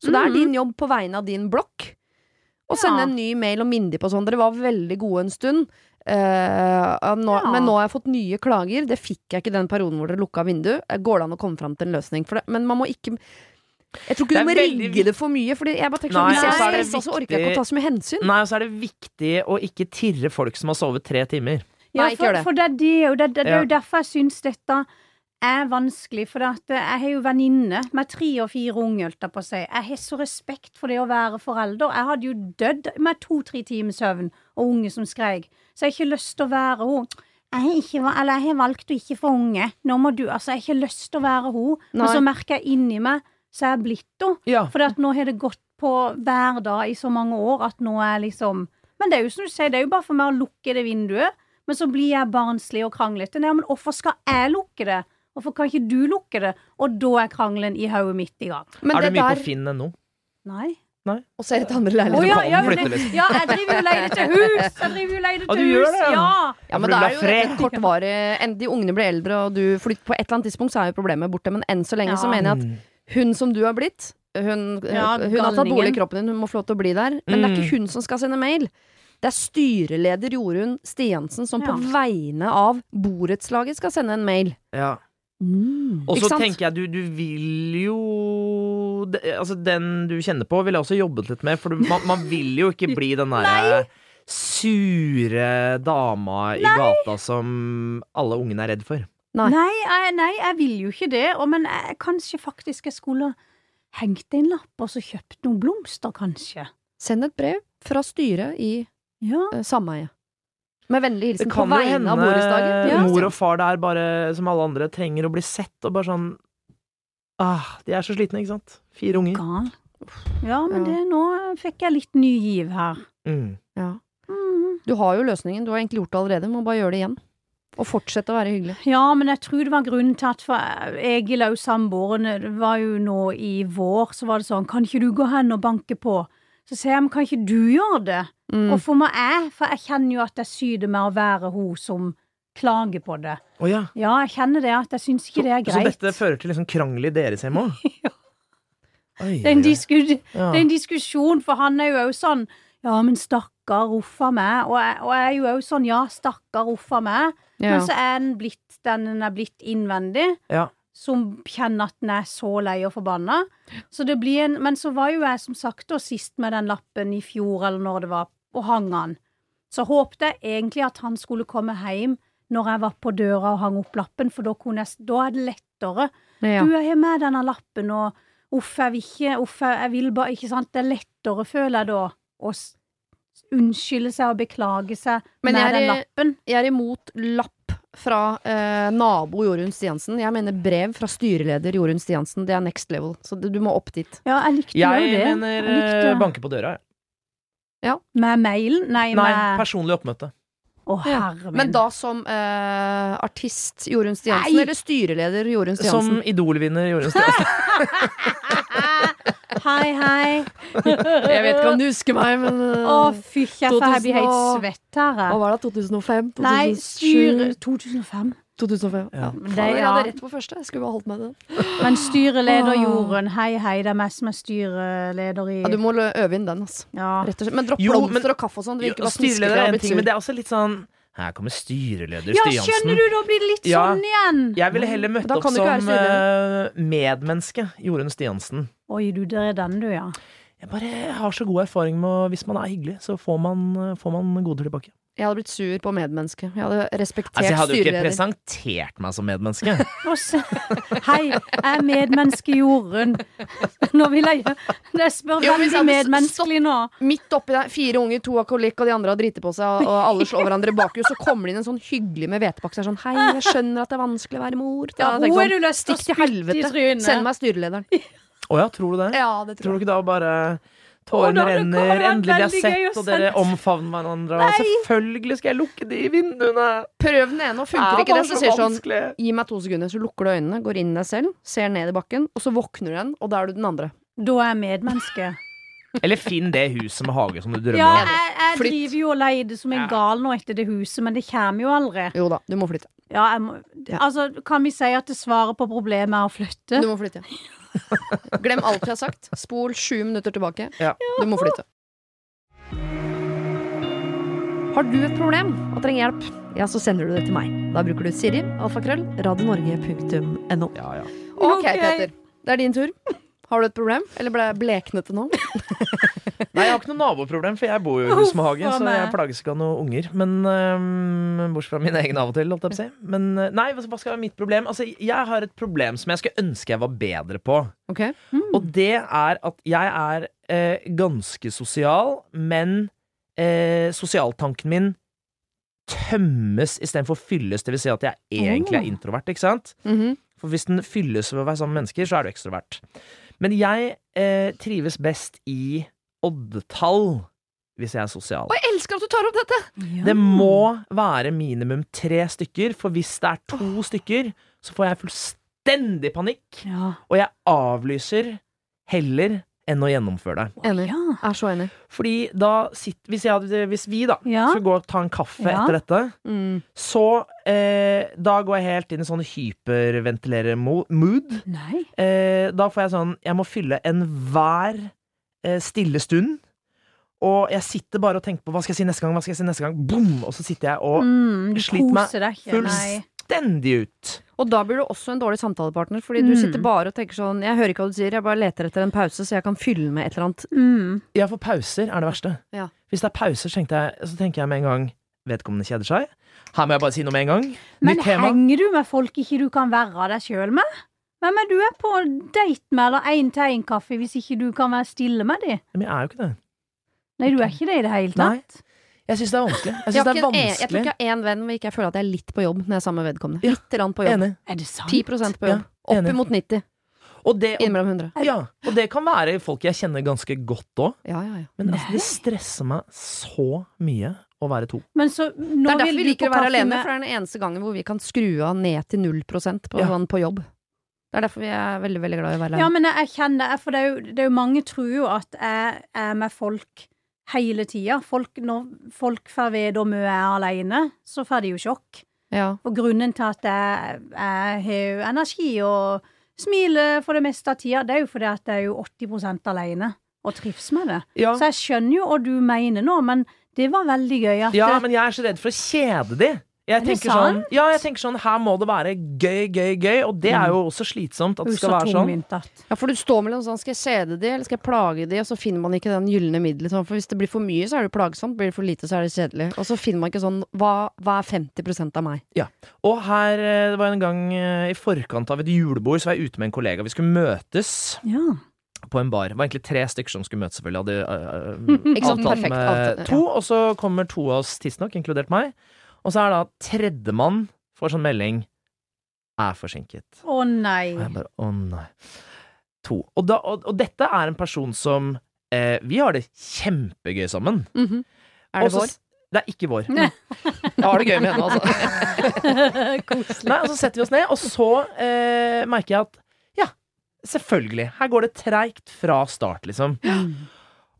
Speaker 1: Så det er
Speaker 2: Mhm.
Speaker 1: din jobb på vegne av din blokk. Og sende
Speaker 2: Ja.
Speaker 1: en ny mail og minne de på sånn. Dere var veldig gode en stund. Eh, ja, nå,
Speaker 2: Ja.
Speaker 1: Men nå har jeg fått nye klager. Det fikk jeg ikke i den perioden hvor dere lukka vinduet. Eh, Går det an å komme fram til en løsning for det? Men man må ikke Jeg tror ikke
Speaker 3: Det
Speaker 1: du må
Speaker 3: er veldig
Speaker 1: rigge det for mye. Fordi jeg bare tenker
Speaker 3: Nei, altså,
Speaker 1: sånn, Hvis jeg
Speaker 2: og så er
Speaker 1: er
Speaker 2: det
Speaker 1: stressa, så orker jeg ikke
Speaker 3: viktig-
Speaker 1: å ta så mye hensyn.
Speaker 3: Nei, og så er det viktig å ikke tirre folk som har sovet tre timer.
Speaker 2: Ja,
Speaker 1: Nei, ikke
Speaker 2: for,
Speaker 1: gjør det.
Speaker 2: for det er det, og det, det, det er jo
Speaker 3: Ja.
Speaker 2: derfor jeg syns dette er vanskelig. For det at eh, jeg har jo venninne med tre og fire unger, holdt jeg på å si. Jeg har så respekt for det å være forelder. Jeg hadde jo dødd med to-tre timer søvn og unge som skreik. Så jeg har ikke lyst til å være hun. jeg har, ikke, va- eller jeg har valgt å ikke få unge. Nå må du, altså, jeg har ikke lyst til å være hun. Men
Speaker 1: Nei.
Speaker 2: så merker jeg inni meg, så er jeg blitt hun.
Speaker 3: Ja.
Speaker 2: For at nå har det gått på hver dag i så mange år at nå er jeg liksom Men det er jo som du sier, det er jo bare for meg å lukke det vinduet. Men så blir jeg barnslig og kranglete. Nei, men hvorfor skal jeg lukke det? Hvorfor kan ikke du lukke det? Og da er krangelen i hodet mitt i gang.
Speaker 1: Men
Speaker 3: er
Speaker 1: det
Speaker 3: du mye
Speaker 1: der
Speaker 3: på Finn ennå?
Speaker 2: Nei.
Speaker 1: Og så er det et andre
Speaker 2: Å
Speaker 1: leilighet.
Speaker 2: ja,
Speaker 3: kan
Speaker 2: ja,
Speaker 3: sånn flytte
Speaker 2: det-
Speaker 3: litt.
Speaker 2: ja, jeg driver jo og leier til hus! Jeg driver jo og leier
Speaker 3: Ja,
Speaker 2: til
Speaker 3: du gjør
Speaker 2: hus!
Speaker 3: det, ja.
Speaker 2: ja.
Speaker 1: Ja, men det
Speaker 3: Rulla
Speaker 1: er jo dette
Speaker 3: fred.
Speaker 1: kortvarig en- De ungene blir eldre, og du flytter på et eller annet tidspunkt, så er jo problemet borte. Men enn så lenge så
Speaker 2: Ja.
Speaker 1: mener jeg
Speaker 3: Mm.
Speaker 1: at hun som du har blitt hun, eh,
Speaker 2: Ja,
Speaker 1: hun har tatt bolig i
Speaker 2: galningen.
Speaker 1: kroppen din, hun må få lov til å bli der. Men det er
Speaker 3: Mm.
Speaker 1: ikke hun som skal sende mail. Det er styreleder Jorunn Stiansen som på
Speaker 2: Ja.
Speaker 1: vegne av borettslaget skal sende en mail.
Speaker 3: Ja. Og
Speaker 1: Ikke
Speaker 3: så
Speaker 1: sant?
Speaker 3: tenker jeg, du, du vil jo det- Altså, den du kjenner på, ville jeg også jobbet litt med, for du, man, man vil jo ikke bli den derre sure dama i gata som alle ungene er redd for.
Speaker 1: Nei.
Speaker 2: Nei, jeg, nei, jeg vil jo ikke det. Og, men jeg, kanskje faktisk jeg skulle hengt en lapp og så kjøpt noen blomster, kanskje.
Speaker 1: Send et brev fra styret i
Speaker 2: Ja.
Speaker 1: eh, sameiet. Med vennlig
Speaker 3: Det
Speaker 1: hilsen på
Speaker 3: kan jo
Speaker 1: vegne
Speaker 3: hende
Speaker 1: av borettslaget. Ja. altså.
Speaker 3: mor og far der bare, som alle andre, trenger å bli sett, og bare sånn Ah, de er så slitne, ikke sant? Fire unger.
Speaker 2: Gal. Ja,
Speaker 1: Ja.
Speaker 2: men det, nå fikk jeg litt ny giv her.
Speaker 3: Mm.
Speaker 1: Ja.
Speaker 2: Mm.
Speaker 1: Du har jo løsningen. Du har egentlig gjort det allerede. Må bare gjøre det igjen. Og fortsette å være hyggelig.
Speaker 2: Ja, men jeg tror det var grunnen til at for eh, Egil og samboeren eh, det var jo nå i vår, så var det sånn, kan ikke du gå hen og banke på? Så sier jeg, men kan ikke du gjøre det?
Speaker 1: Mm.
Speaker 2: Og for meg jeg, for jeg kjenner jo at jeg syder med å være hun som klager på det.
Speaker 3: Å ja.
Speaker 2: Ja, jeg kjenner det, at jeg syns ikke det er
Speaker 3: Så
Speaker 2: greit.
Speaker 3: dette fører til liksom krangel i deres hjem òg?
Speaker 2: Det er en disku-
Speaker 3: Ja.
Speaker 2: det er en diskusjon, for han er jo òg sånn Ja, men stakkar, uff a meg. Og jeg, og jeg er jo òg sånn Ja, stakkar, uff a meg.
Speaker 1: Ja.
Speaker 2: Men så er den blitt den den er blitt innvendig.
Speaker 3: Ja.
Speaker 2: Som kjenner at den er så lei og forbanna. Så det blir en, men så var jo jeg som sagt da sist med den lappen i fjor, eller når det var, og hang han. Så håpte jeg egentlig at han skulle komme hjem når jeg var på døra og hang opp lappen, for da, kunne jeg, s- da er det lettere.
Speaker 1: Ja.
Speaker 2: Du, jeg har med denne lappen, og uff, jeg vil ikke, uff, jeg jeg vil bare Ikke sant? Det er lettere, føler jeg da, å s- unnskylde seg og beklage seg
Speaker 1: Men
Speaker 2: med
Speaker 1: jeg er
Speaker 2: den
Speaker 1: i-
Speaker 2: lappen.
Speaker 1: Jeg er imot lapp fra eh, nabo Jorunn Stiansen. Jeg mener brev fra styreleder Jorunn Stiansen. Det er next level. Så du, du må opp dit.
Speaker 2: Ja, jeg likte
Speaker 3: Jeg
Speaker 2: jo det.
Speaker 3: mener
Speaker 2: Jeg likte-
Speaker 3: eh, banke på døra, jeg.
Speaker 2: Med mailen? Nei,
Speaker 3: Nei,
Speaker 2: med
Speaker 3: personlig oppmøte.
Speaker 2: Å, herre min.
Speaker 1: Men da som eh, artist Jorunn Stiansen,
Speaker 2: Nei!
Speaker 1: eller styreleder Jorunn
Speaker 3: Som
Speaker 1: Stiansen.
Speaker 3: Idol-vinner Jorunn Stiansen.
Speaker 2: Hei, hei.
Speaker 1: Jeg vet ikke om du husker meg, men eh,
Speaker 2: Å, fy kjeft, jeg blir helt
Speaker 1: 2000 og-
Speaker 2: svett her.
Speaker 1: Hva
Speaker 2: jeg.
Speaker 1: var det? 2005? 2007?
Speaker 2: Nei, styre 2005.
Speaker 1: 2005. Ja.
Speaker 2: Men det-
Speaker 1: Faen, jeg
Speaker 2: ja.
Speaker 1: hadde rett på første. Jeg skulle bare holdt meg med den.
Speaker 2: Men styreleder
Speaker 1: Åh.
Speaker 2: Jorunn, hei, hei, det er meg som er styreleder i
Speaker 1: Ja, du må lø- øve inn den, altså.
Speaker 2: Ja.
Speaker 1: Rett og slett. Men dropp
Speaker 3: Jo, men-
Speaker 1: blomster og kaffe og sånn. Det virker bare smiskete. Jeg
Speaker 3: Styreleder er
Speaker 1: har
Speaker 3: én
Speaker 1: blitt
Speaker 3: ting, men
Speaker 1: sur.
Speaker 3: det er også litt sånn Her kommer styreleder
Speaker 2: ja,
Speaker 3: Stiansen.
Speaker 2: skjønner du, da blir det litt
Speaker 3: Ja.
Speaker 2: sånn igjen.
Speaker 3: Jeg ville heller møtt
Speaker 1: Da
Speaker 3: opp
Speaker 1: kan du ikke være
Speaker 3: som eh, medmenneske Jorunn Stiansen.
Speaker 2: Oi, du, der er den, du, ja.
Speaker 3: Jeg bare har så god erfaring med å- hvis man er hyggelig, så får man, eh, får man goder tilbake.
Speaker 1: Jeg hadde blitt sur på medmennesket. Jeg hadde respektert
Speaker 3: Altså, jeg hadde jo ikke
Speaker 1: styreleder.
Speaker 3: presentert meg som medmenneske.
Speaker 2: Og så- Hei, jeg er medmenneske Jorunn. Nå vil jeg Jeg spør
Speaker 1: Jo, men
Speaker 2: veldig
Speaker 1: så hadde-
Speaker 2: medmenneskelig nå.
Speaker 1: Midt oppi der, fire unger, to alkoholikk, og de andre har driti på seg, og alle slår hverandre bak hus. Så kommer det inn en sånn hyggelig med hvetepakke. Så er det sånn Hei, jeg skjønner at det er vanskelig å være mor. Da tenker
Speaker 2: Ja,
Speaker 1: jeg
Speaker 2: hun er
Speaker 1: sånn,
Speaker 2: du lyst til å
Speaker 1: Stikk til
Speaker 2: spytte i
Speaker 1: helvete.
Speaker 2: trynet.
Speaker 1: Send meg styrelederen.
Speaker 3: Å ja, tror du det?
Speaker 1: Ja, det
Speaker 3: Tror
Speaker 1: tror jeg.
Speaker 3: du ikke da bare
Speaker 2: Å, da
Speaker 3: Tårene
Speaker 2: hadde det
Speaker 3: renner,
Speaker 2: vært
Speaker 3: endelig vi har
Speaker 2: veldig gøy å
Speaker 3: sett, og dere
Speaker 2: sende-
Speaker 3: omfavner hverandre. Og selvfølgelig skal jeg lukke de vinduene!
Speaker 1: Prøv den ene, og funker
Speaker 3: er
Speaker 1: ikke det,
Speaker 3: bare
Speaker 1: så sier sånn
Speaker 3: vanskelig.
Speaker 1: Gi meg to sekunder, så lukker du øynene, går inn i deg selv, ser ned i bakken, og så våkner du igjen, og da er du den andre.
Speaker 2: Da er jeg medmenneske.
Speaker 3: Eller finn det huset med hage som du drømmer
Speaker 2: Ja,
Speaker 3: om.
Speaker 2: jeg, jeg
Speaker 1: Flytt.
Speaker 2: driver jo og leier det som en gal nå etter det huset, men det kommer jo aldri.
Speaker 1: Jo da, du må flytte.
Speaker 2: Ja, jeg må, altså, kan vi si at det svaret på problemet er å flytte?
Speaker 1: Du må flytte. Glem alt jeg har sagt. Spol sju minutter tilbake.
Speaker 3: Ja.
Speaker 1: Du må flytte. Har du et problem og trenger hjelp, ja, så sender du det til meg. Da bruker du Siri, alfakrøll, radionorge.no.
Speaker 3: Ja, ja.
Speaker 1: Ok,
Speaker 2: Ok.
Speaker 1: Peter. Det er din tur. Har du et problem? Eller ble jeg bleknete nå?
Speaker 3: Nei, jeg har ikke noe naboproblem, for jeg bor jo i hus med hage,
Speaker 2: Uff,
Speaker 3: så
Speaker 2: faen meg.
Speaker 3: jeg plages ikke av noen unger. Men øhm, Bortsett fra min egen av og til, holdt jeg på å si. Men øh, nei, hva skal være mitt problem? Altså, jeg har et problem som jeg skulle ønske jeg var bedre på.
Speaker 1: Ok,
Speaker 2: Hmm.
Speaker 3: Og det er at jeg er eh, ganske sosial, men eh, sosialtanken min tømmes istedenfor fylles. Det vil si at jeg egentlig er introvert, ikke sant?
Speaker 1: Mhm.
Speaker 3: For hvis den fylles ved å være sammen med mennesker, så er du ekstrovert. Men jeg eh, trives best i oddetall hvis jeg er sosial.
Speaker 1: Og jeg elsker at du tar opp dette!
Speaker 3: Det må være minimum tre stykker, for hvis det er to stykker, så får jeg fullstendig panikk,
Speaker 2: ja.
Speaker 3: og jeg avlyser heller enn å gjennomføre det.
Speaker 1: Enig.
Speaker 2: Ja.
Speaker 1: Jeg er så enig.
Speaker 3: Fordi da sitter Hvis, jeg, hadde- hvis vi, da,
Speaker 2: Ja.
Speaker 3: skal gå og ta en kaffe
Speaker 2: Ja.
Speaker 3: etter dette,
Speaker 1: Mm.
Speaker 3: så eh, Da går jeg helt inn i sånn hyperventilerer-mood.
Speaker 2: Nei.
Speaker 3: Eh, da får jeg sånn Jeg må fylle enhver eh, stille stund. Og jeg sitter bare og tenker på hva skal jeg si neste gang, hva skal jeg si neste gang. Boom! Og så sitter jeg og
Speaker 2: Mm, du
Speaker 3: sliter meg
Speaker 2: koser deg ikke. Nei.
Speaker 3: fullstendig ut.
Speaker 1: Og da blir du også en dårlig samtalepartner, fordi du
Speaker 2: Mm.
Speaker 1: sitter bare og tenker sånn Jeg hører ikke hva du sier, jeg bare leter etter en pause, så jeg kan fylle med et eller annet.
Speaker 2: Mm.
Speaker 3: Ja, for pauser er det verste.
Speaker 1: Ja.
Speaker 3: Hvis det er pauser, så tenkte jeg, så tenker jeg med en gang vedkommende kjeder seg. Her må jeg bare si noe med en gang.
Speaker 2: Men
Speaker 3: Nytt tema.
Speaker 2: henger du med folk ikke du kan være deg sjøl med? Hvem er du er på date med eller én-til-én-kaffe hvis ikke du kan være stille med de?
Speaker 3: Men jeg er jo ikke det.
Speaker 2: Nei, du er ikke det i det hele
Speaker 3: Nei.
Speaker 2: tatt.
Speaker 3: Jeg syns det er vanskelig. e- Jeg
Speaker 1: Jeg,
Speaker 3: synes
Speaker 1: har
Speaker 3: det er
Speaker 1: ikke en, e- jeg, jeg tror
Speaker 3: vanskelig.
Speaker 1: ikke jeg har én venn hvor ikke jeg føler at jeg er litt på jobb når jeg er sammen med vedkommende.
Speaker 3: Ja.
Speaker 1: Litt grann på jobb.
Speaker 3: Enig.
Speaker 2: Er det sant?
Speaker 1: 10 på jobb.
Speaker 3: Ja, enig.
Speaker 1: Oppimot 90.
Speaker 3: Og det, og,
Speaker 1: Innimellom 100.
Speaker 3: ja, og det kan være folk jeg kjenner ganske godt òg.
Speaker 1: Ja, ja, ja.
Speaker 3: Men altså,
Speaker 2: Nei.
Speaker 3: det stresser meg så mye å være to.
Speaker 2: Men så,
Speaker 1: Det
Speaker 2: nå
Speaker 1: er derfor
Speaker 2: vil
Speaker 1: vi
Speaker 2: du
Speaker 1: liker å
Speaker 2: på
Speaker 1: være
Speaker 2: kaffe
Speaker 1: alene,
Speaker 2: med-
Speaker 1: for det er den eneste gangen hvor vi kan skru av ned til 0 på,
Speaker 3: Ja.
Speaker 1: sånn på jobb. Det er derfor vi er veldig veldig glad i å være
Speaker 2: Ja,
Speaker 1: alene.
Speaker 2: men jeg, jeg kjenner det, for det er, jo, det er jo mange tror jo at jeg er med folk hele tida. Folk, når folk får vite om jeg er alene, så får de jo sjokk.
Speaker 1: Ja.
Speaker 2: Og grunnen til at jeg, jeg har jo energi og smiler for det meste av tida, det er jo fordi at jeg er jo 80 alene og trives med det.
Speaker 3: Ja,
Speaker 2: Så jeg skjønner jo hva du mener nå, men det var veldig gøy at
Speaker 3: ja men jeg er så redd for å kjede de. Jeg
Speaker 2: Er det
Speaker 3: tenker, sånn, ja, jeg tenker sånn Her må det være gøy, gøy, gøy. Og det er jo også slitsomt at
Speaker 2: du
Speaker 3: det
Speaker 2: er så
Speaker 3: skal være sånn.
Speaker 2: tungvint at
Speaker 1: Ja, for du står mellom sånn, skal jeg kjede de, eller skal jeg plage de, og så finner man ikke den gylne middelen. Sånn. For hvis det blir for mye, så er det plagsomt, blir det for lite, så er det kjedelig. Og så finner man ikke sånn, hva, hva er 50 av meg?
Speaker 3: Og her eh, det var en gang eh, i forkant av et julebord, så var jeg ute med en kollega. Vi skulle møtes
Speaker 2: Ja.
Speaker 3: på en bar. Det var egentlig tre stykker som skulle møtes, selvfølgelig. Hadde eh, eh,
Speaker 1: Ikke sånn
Speaker 3: avtalt
Speaker 1: perfekt
Speaker 3: med
Speaker 1: avtale,
Speaker 3: to, og så kommer to av oss tidsnok, inkludert meg. Og så er da tredjemann får sånn melding er forsinket.
Speaker 2: Å nei.
Speaker 3: Og jeg bare å nei. To. Og, da, og, og dette er en person som eh, Vi har det kjempegøy sammen.
Speaker 1: Mhm. Er det
Speaker 3: Og så
Speaker 1: vår?
Speaker 3: s- Det er ikke vår. Jeg har det gøy med henne, altså.
Speaker 2: Koselig.
Speaker 3: Nei, og så setter vi oss ned, og så eh, merker jeg at ja, selvfølgelig. Her går det treigt fra start, liksom.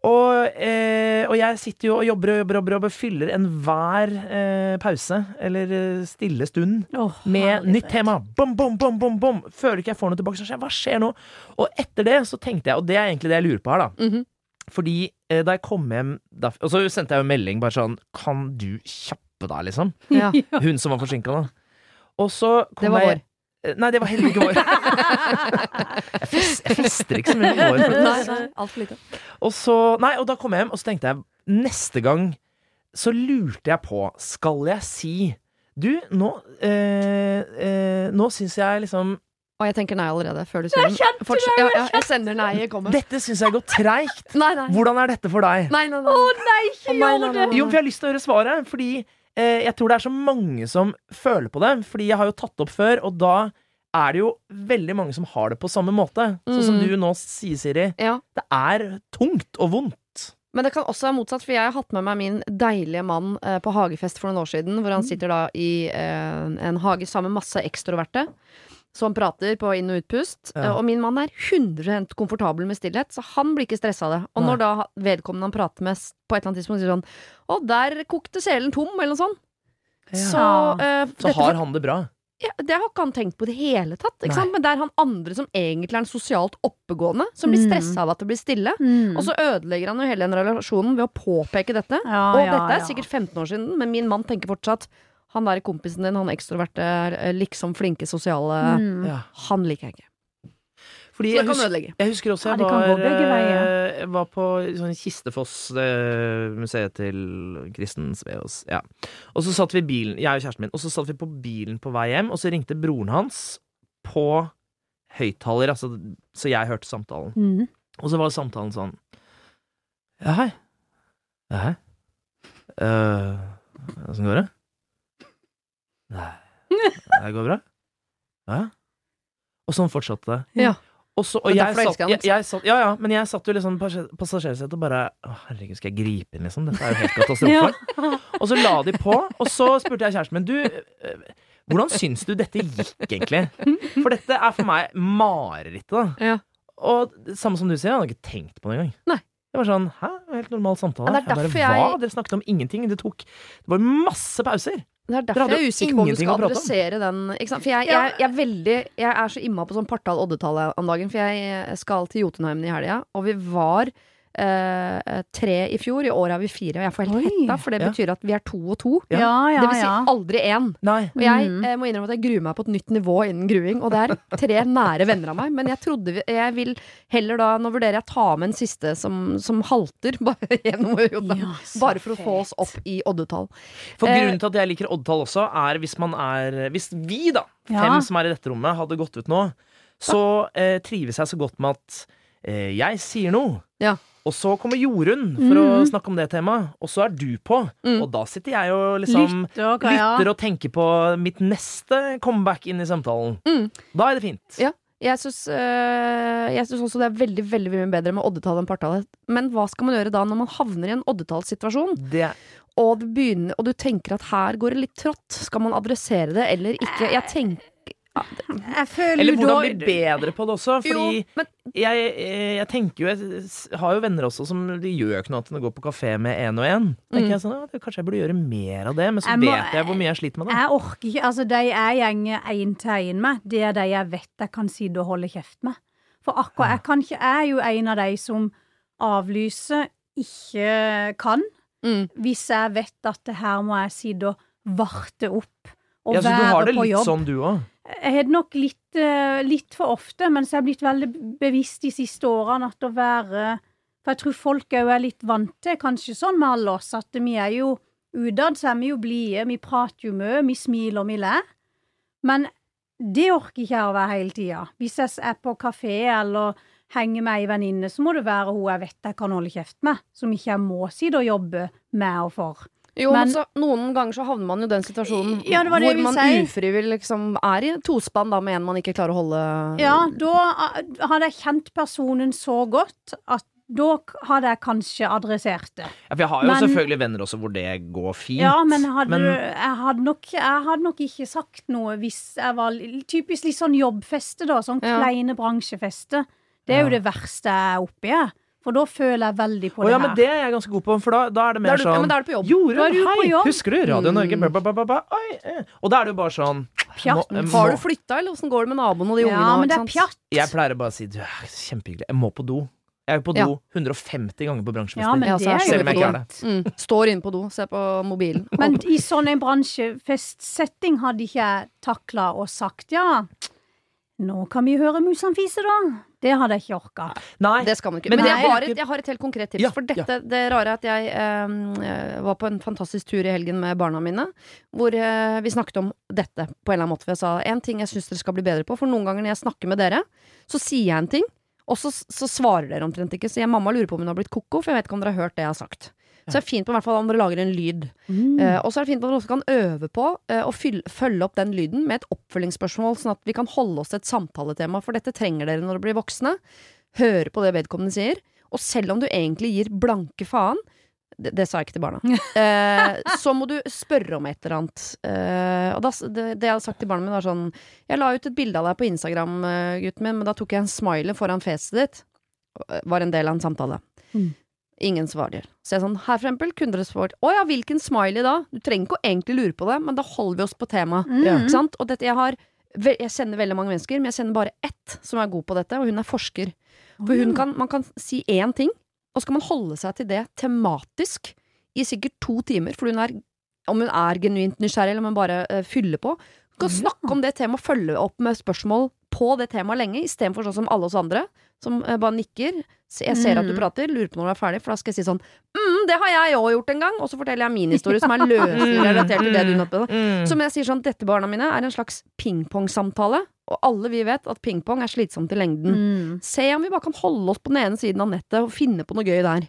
Speaker 3: Og, eh, og jeg sitter jo og jobber og jobber og jobber, jobber fyller enhver eh, pause eller eh, stille stund
Speaker 2: Åh,
Speaker 3: med
Speaker 2: herlighet.
Speaker 3: nytt tema. Bom, bom, bom, bom, bom. Føler ikke jeg får noe tilbake. Så skjer, hva skjer nå? Og etter det så tenkte jeg, og det er egentlig det jeg lurer på her, da.
Speaker 1: Mhm.
Speaker 3: Fordi eh, da jeg kom hjem da, Og så sendte jeg jo en melding bare sånn Kan du kjappe deg, liksom?
Speaker 1: Ja.
Speaker 3: Hun som var forsinka, da. Og så kom
Speaker 1: Det var
Speaker 3: jeg Eh, Nei, det var heller ikke vår. jeg, fest, jeg fester ikke så mye med vår.
Speaker 1: Nei, nei, altfor lite.
Speaker 3: Og så, nei, og da kom jeg hjem, og så tenkte jeg Neste gang så lurte jeg på Skal jeg si Du, nå eh, eh, Nå syns jeg liksom
Speaker 1: Og jeg tenker nei allerede, før du sier den. Forts- ja, ja, jeg sender nei, jeg kommer.
Speaker 3: Dette syns jeg går treigt.
Speaker 1: Nei, nei.
Speaker 3: Hvordan er dette for deg?
Speaker 1: Nei, nei, nei. Å nei, ikke
Speaker 2: gjør
Speaker 1: det!
Speaker 3: Jo, for jeg har lyst til å høre svaret, fordi eh, jeg tror det er så mange som føler på det. Fordi jeg har jo tatt det opp før, og da er det jo veldig mange som har det på samme måte. Sånn som
Speaker 1: Mm.
Speaker 3: du nå sier, Siri.
Speaker 1: Ja.
Speaker 3: Det er tungt og vondt.
Speaker 1: Men det kan også være motsatt, for jeg har hatt med meg min deilige mann eh, på hagefest for noen år siden,
Speaker 3: Mm.
Speaker 1: hvor han sitter da i eh, en hage sammen med masse ekstroverte. Som prater på inn- og utpust.
Speaker 3: Ja.
Speaker 1: eh, Og min mann er 100 komfortabel med stillhet, så han blir ikke stressa av det. Og
Speaker 3: Nei.
Speaker 1: når da vedkommende han prater med, s- på et eller annet tidspunkt sier sånn Å, der kokte selen tom, eller noe sånt. Så, eh,
Speaker 3: Så
Speaker 1: dette
Speaker 3: har han det bra.
Speaker 1: ja, det har ikke han tenkt på i det hele tatt.
Speaker 3: Nei.
Speaker 1: Ikke sant? Men det er han andre som egentlig er en sosialt oppegående, som blir
Speaker 2: Mm.
Speaker 1: stressa av at det blir stille.
Speaker 2: Mm.
Speaker 1: Og så ødelegger han jo hele den relasjonen ved å påpeke dette.
Speaker 2: Ja,
Speaker 1: og
Speaker 2: Ah, ja,
Speaker 1: dette er
Speaker 2: ja.
Speaker 1: sikkert 15 år siden, men min mann tenker fortsatt han der kompisen din, han ekstroverte, eh, liksom flinke sosiale
Speaker 2: Mm.
Speaker 3: Ja.
Speaker 1: Han liker jeg ikke.
Speaker 3: Fordi
Speaker 1: Så eh, det
Speaker 3: jeg,
Speaker 1: kan
Speaker 3: husker,
Speaker 1: ødelegge.
Speaker 3: jeg husker også
Speaker 2: Ja,
Speaker 3: jeg
Speaker 2: det kan gå
Speaker 3: var,
Speaker 2: begge veier.
Speaker 3: eh, jeg var på sånn Kistefoss-museet til Kristen Sveaas. Ja. Og så satt vi i bilen, jeg og kjæresten min, og så satt vi på bilen på vei hjem, og så ringte broren hans på høyttaler, altså, så jeg hørte samtalen.
Speaker 2: Mm.
Speaker 3: Og så var samtalen sånn Ja, hei. Ja, hei. Eh, Åssen går det? Nei. Det går bra? Ja. Og sånn fortsatte det.
Speaker 1: Ja.
Speaker 3: Og så, og
Speaker 1: Det er
Speaker 3: jeg
Speaker 1: derfor du
Speaker 3: satt,
Speaker 1: elsker han,
Speaker 3: jeg, jeg satt, ja, ja, men jeg satt jo liksom på passasjer- passasjersetet og bare Å, herregud, skal jeg gripe inn, liksom? Dette er jo helt katastrofe. Og så la de på, og så spurte jeg kjæresten min, du eh, Hvordan syns du dette gikk, egentlig? For dette er for meg marerittet, da.
Speaker 1: Ja.
Speaker 3: Og det samme som du sier, jeg hadde ikke tenkt på det engang.
Speaker 1: Nei.
Speaker 3: Det var sånn, hæ? Helt normal samtale.
Speaker 1: Ja, det er
Speaker 3: Jeg
Speaker 1: derfor jeg-
Speaker 3: bare, Hva? Dere snakket om ingenting. Det tok Det var masse pauser.
Speaker 1: Det er
Speaker 3: Dere
Speaker 1: derfor
Speaker 3: hadde
Speaker 1: jeg er
Speaker 3: jo
Speaker 1: usikker på om du
Speaker 3: ingenting
Speaker 1: skal
Speaker 3: å prate om.
Speaker 1: adressere den. Ikke sant? For jeg,
Speaker 2: Ja.
Speaker 1: jeg, jeg, er veldig, jeg er så imma på sånn partall-oddetall om dagen, for jeg skal til Jotunheimen i helga, og vi var eh, tre i fjor. I år er vi fire, og jeg får helt
Speaker 2: Oi.
Speaker 1: hetta, for det
Speaker 3: Ja.
Speaker 1: betyr at vi er to og to.
Speaker 3: Ja.
Speaker 2: Ja, ja,
Speaker 1: det vil si
Speaker 2: ja.
Speaker 1: aldri én.
Speaker 3: Nei.
Speaker 1: Og jeg
Speaker 2: Mm.
Speaker 1: eh, må innrømme at jeg gruer meg på et nytt nivå innen gruing, og det er tre nære venner av meg, men jeg trodde vi, jeg vil heller da Nå vurderer jeg å ta med en siste som, som halter bare gjennom Jotunheimen.
Speaker 2: Ja, så
Speaker 1: Bare for å få oss
Speaker 2: fett.
Speaker 1: opp i oddetall.
Speaker 3: For
Speaker 1: Eh,
Speaker 3: grunnen til at jeg liker oddetall også, er hvis man er Hvis vi, da,
Speaker 2: Ja.
Speaker 3: fem som er i dette rommet, hadde gått ut nå, så eh, trives jeg så godt med at eh, jeg sier noe.
Speaker 1: Ja. Mhm.
Speaker 3: Og så kommer Jorunn for å snakke om det temaet, og så er du på.
Speaker 1: Mm.
Speaker 3: Og da sitter jeg og liksom
Speaker 2: Lytter, hva, ja.
Speaker 3: lytter og tenker på mitt neste comeback inn i samtalen.
Speaker 1: Mm.
Speaker 3: Da er det fint.
Speaker 1: Ja. Jeg syns, øh, jeg syns også det er veldig veldig mye bedre med oddetall enn partall. Men hva skal man gjøre da når man havner i en oddetallssituasjon,
Speaker 3: Det
Speaker 1: og, det begynner- og du tenker at her går det litt trått? Skal man adressere det eller ikke? Jeg tenker
Speaker 2: Jeg føler
Speaker 3: Eller
Speaker 2: jo da
Speaker 3: hvordan bli bedre på det også. Fordi
Speaker 1: Jo, men
Speaker 3: jeg, eh, jeg tenker jo Jeg s- har jo venner også som de gjør ikke noe annet enn å gå på kafé med én og én. Tenker
Speaker 1: Mm.
Speaker 3: jeg sånn, ja, det- Kanskje jeg burde gjøre mer av det, men så
Speaker 2: Jeg må-
Speaker 3: vet jeg hvor mye jeg sliter med det.
Speaker 2: Jeg orker ikke. Altså, de jeg gjenger én til én med, det er de jeg vet jeg kan sitte og holde kjeft med. For akkurat jeg kan ikke Jeg er jo en av de som avlyser, ikke kan,
Speaker 1: Mm.
Speaker 2: hvis jeg vet at det her må jeg sitte og varte opp. Og
Speaker 3: Ja, så du
Speaker 2: være
Speaker 3: har det
Speaker 2: på
Speaker 3: litt
Speaker 2: jobb.
Speaker 3: sånn, du òg.
Speaker 2: Jeg har det nok litt, eh, litt for ofte, men så har jeg blitt veldig bevisst de siste årene at å være For jeg tror folk òg er litt vant til, kanskje sånn med alle oss, at vi er jo utad, så er vi jo blide, vi prater jo mye, vi smiler, vi ler. Men det orker ikke jeg å være hele tida. Hvis jeg er på kafé eller henger med ei venninne, så må det være hun jeg vet jeg kan holde kjeft med, som ikke jeg må sitte og jobbe med og for.
Speaker 1: Jo, men,
Speaker 2: Men-
Speaker 1: så, noen ganger så havner man jo i den situasjonen
Speaker 2: Ja, det var det jeg
Speaker 1: hvor
Speaker 2: ville
Speaker 1: man
Speaker 2: si.
Speaker 1: ufrivillig liksom er i et tospann da med en man ikke klarer å holde
Speaker 2: Ja, da eh, hadde jeg kjent personen så godt at da k- hadde jeg kanskje adressert det.
Speaker 3: Ja, for jeg har jo
Speaker 2: Men-
Speaker 3: selvfølgelig venner også hvor det går fint.
Speaker 2: Ja, men, hadde,
Speaker 3: men-
Speaker 2: du- jeg, hadde nok, jeg hadde nok ikke sagt noe hvis jeg var li- Typisk litt sånn jobbfeste, da. Sånn
Speaker 1: Ja.
Speaker 2: kleine bransjefeste. Det er
Speaker 3: Ja.
Speaker 2: jo det verste jeg er oppi, jeg. For da føler jeg veldig på
Speaker 3: Å,
Speaker 2: det her.
Speaker 3: ja, men det er jeg ganske god på, for da, da er det
Speaker 1: Da
Speaker 3: mer
Speaker 1: er du, ja,
Speaker 3: sånn
Speaker 1: men da er du på jobb.
Speaker 2: Da er
Speaker 3: Jorunn,
Speaker 2: du på
Speaker 3: hei!
Speaker 2: jobb.
Speaker 3: Husker du Radio
Speaker 1: Mm.
Speaker 3: Norge? Bla, bla, bla, bla, bla. Oi, eh. Og da er det jo bare sånn
Speaker 2: Pjatt.
Speaker 3: må- eh,
Speaker 1: Har du
Speaker 3: må-
Speaker 1: flytta, eller åssen går det med naboen og de
Speaker 2: ja,
Speaker 1: ungene? og-
Speaker 2: men det
Speaker 1: ikke
Speaker 2: er
Speaker 1: sant?
Speaker 2: pjatt.
Speaker 3: Jeg pleier å bare å si du, eh, kjempehyggelig, jeg må på do. Jeg er på
Speaker 1: Ja.
Speaker 3: do 150 ganger på bransjefester.
Speaker 2: Ja, men
Speaker 1: Ja, så
Speaker 2: det
Speaker 1: er
Speaker 2: er
Speaker 1: selv
Speaker 2: jo
Speaker 1: om jeg
Speaker 2: dumt.
Speaker 1: ikke er Mm. Står inne på do, ser på mobilen.
Speaker 2: Men i sånn en bransjefestsetting hadde ikke jeg takla og sagt ja. Nå kan vi høre musene fise, da. Det hadde jeg ikke orka.
Speaker 3: Nei,
Speaker 1: Det skal man ikke.
Speaker 3: Men
Speaker 1: Men,
Speaker 3: det
Speaker 1: jeg,
Speaker 3: er
Speaker 1: har
Speaker 3: ikke-
Speaker 1: et, jeg har et helt konkret tips.
Speaker 3: Ja,
Speaker 1: for dette, det rare er at jeg eh, var på en fantastisk tur i helgen med barna mine, hvor eh, vi snakket om dette på en eller annen måte. For jeg sa en ting jeg syns dere skal bli bedre på, for noen ganger når jeg snakker med dere, så sier jeg en ting, og så, så svarer dere omtrent ikke. Så jeg, mamma lurer på om hun har blitt koko, for jeg vet ikke om dere har hørt det jeg har sagt. Så det er fint på i hvert fall om dere lager en lyd.
Speaker 3: Mm.
Speaker 1: Eh, og så er det fint at man også kan øve på eh, å fyll, følge opp den lyden med et oppfølgingsspørsmål, sånn at vi kan holde oss til et samtaletema, for dette trenger dere når dere blir voksne. Høre på det vedkommende sier, og selv om du egentlig gir blanke faen, det, det sa jeg ikke til barna, eh, så må du spørre om et eller annet. Eh, og da, s- det, det jeg hadde sagt til barna mine, var sånn Jeg la ut et bilde av deg på Instagram, eh, gutten min, men da tok jeg en smiley foran fjeset ditt. Eh, Var en del av en samtale.
Speaker 2: Mm.
Speaker 1: Ingen svarer. Så jeg er sånn, her for eksempel kunne dere svart Å ja, hvilken smiley da? Du trenger ikke å egentlig lure på det, men da holder vi oss på temaet.
Speaker 2: Mm.
Speaker 3: Ja.
Speaker 1: Ikke sant? Og dette jeg har ve- Jeg kjenner veldig mange mennesker, men jeg kjenner bare ett som er god på dette, og hun er forsker. For hun kan, man kan si én ting, og så kan man holde seg til det tematisk i sikkert to timer, for hun er, om hun er genuint nysgjerrig, eller om hun bare eh, fyller på. Hun kan
Speaker 2: Ja.
Speaker 1: snakke om det temaet, følge opp med spørsmål på det temaet lenge, istedenfor sånn som alle oss andre, som eh, bare nikker. Se- Jeg ser at du
Speaker 2: Mm.
Speaker 1: prater, lurer på når du er ferdig, for da skal jeg si sånn mm, det har jeg òg gjort en gang, og så forteller jeg min historie, som er løselig relatert til det du nettopp
Speaker 3: Mm.
Speaker 1: som jeg sier sånn, dette barna mine er en slags pingpongsamtale, og alle vi vet at pingpong er slitsomt i lengden.
Speaker 2: Mm.
Speaker 1: Se om vi bare kan holde oss på den ene siden av nettet og finne på noe gøy der.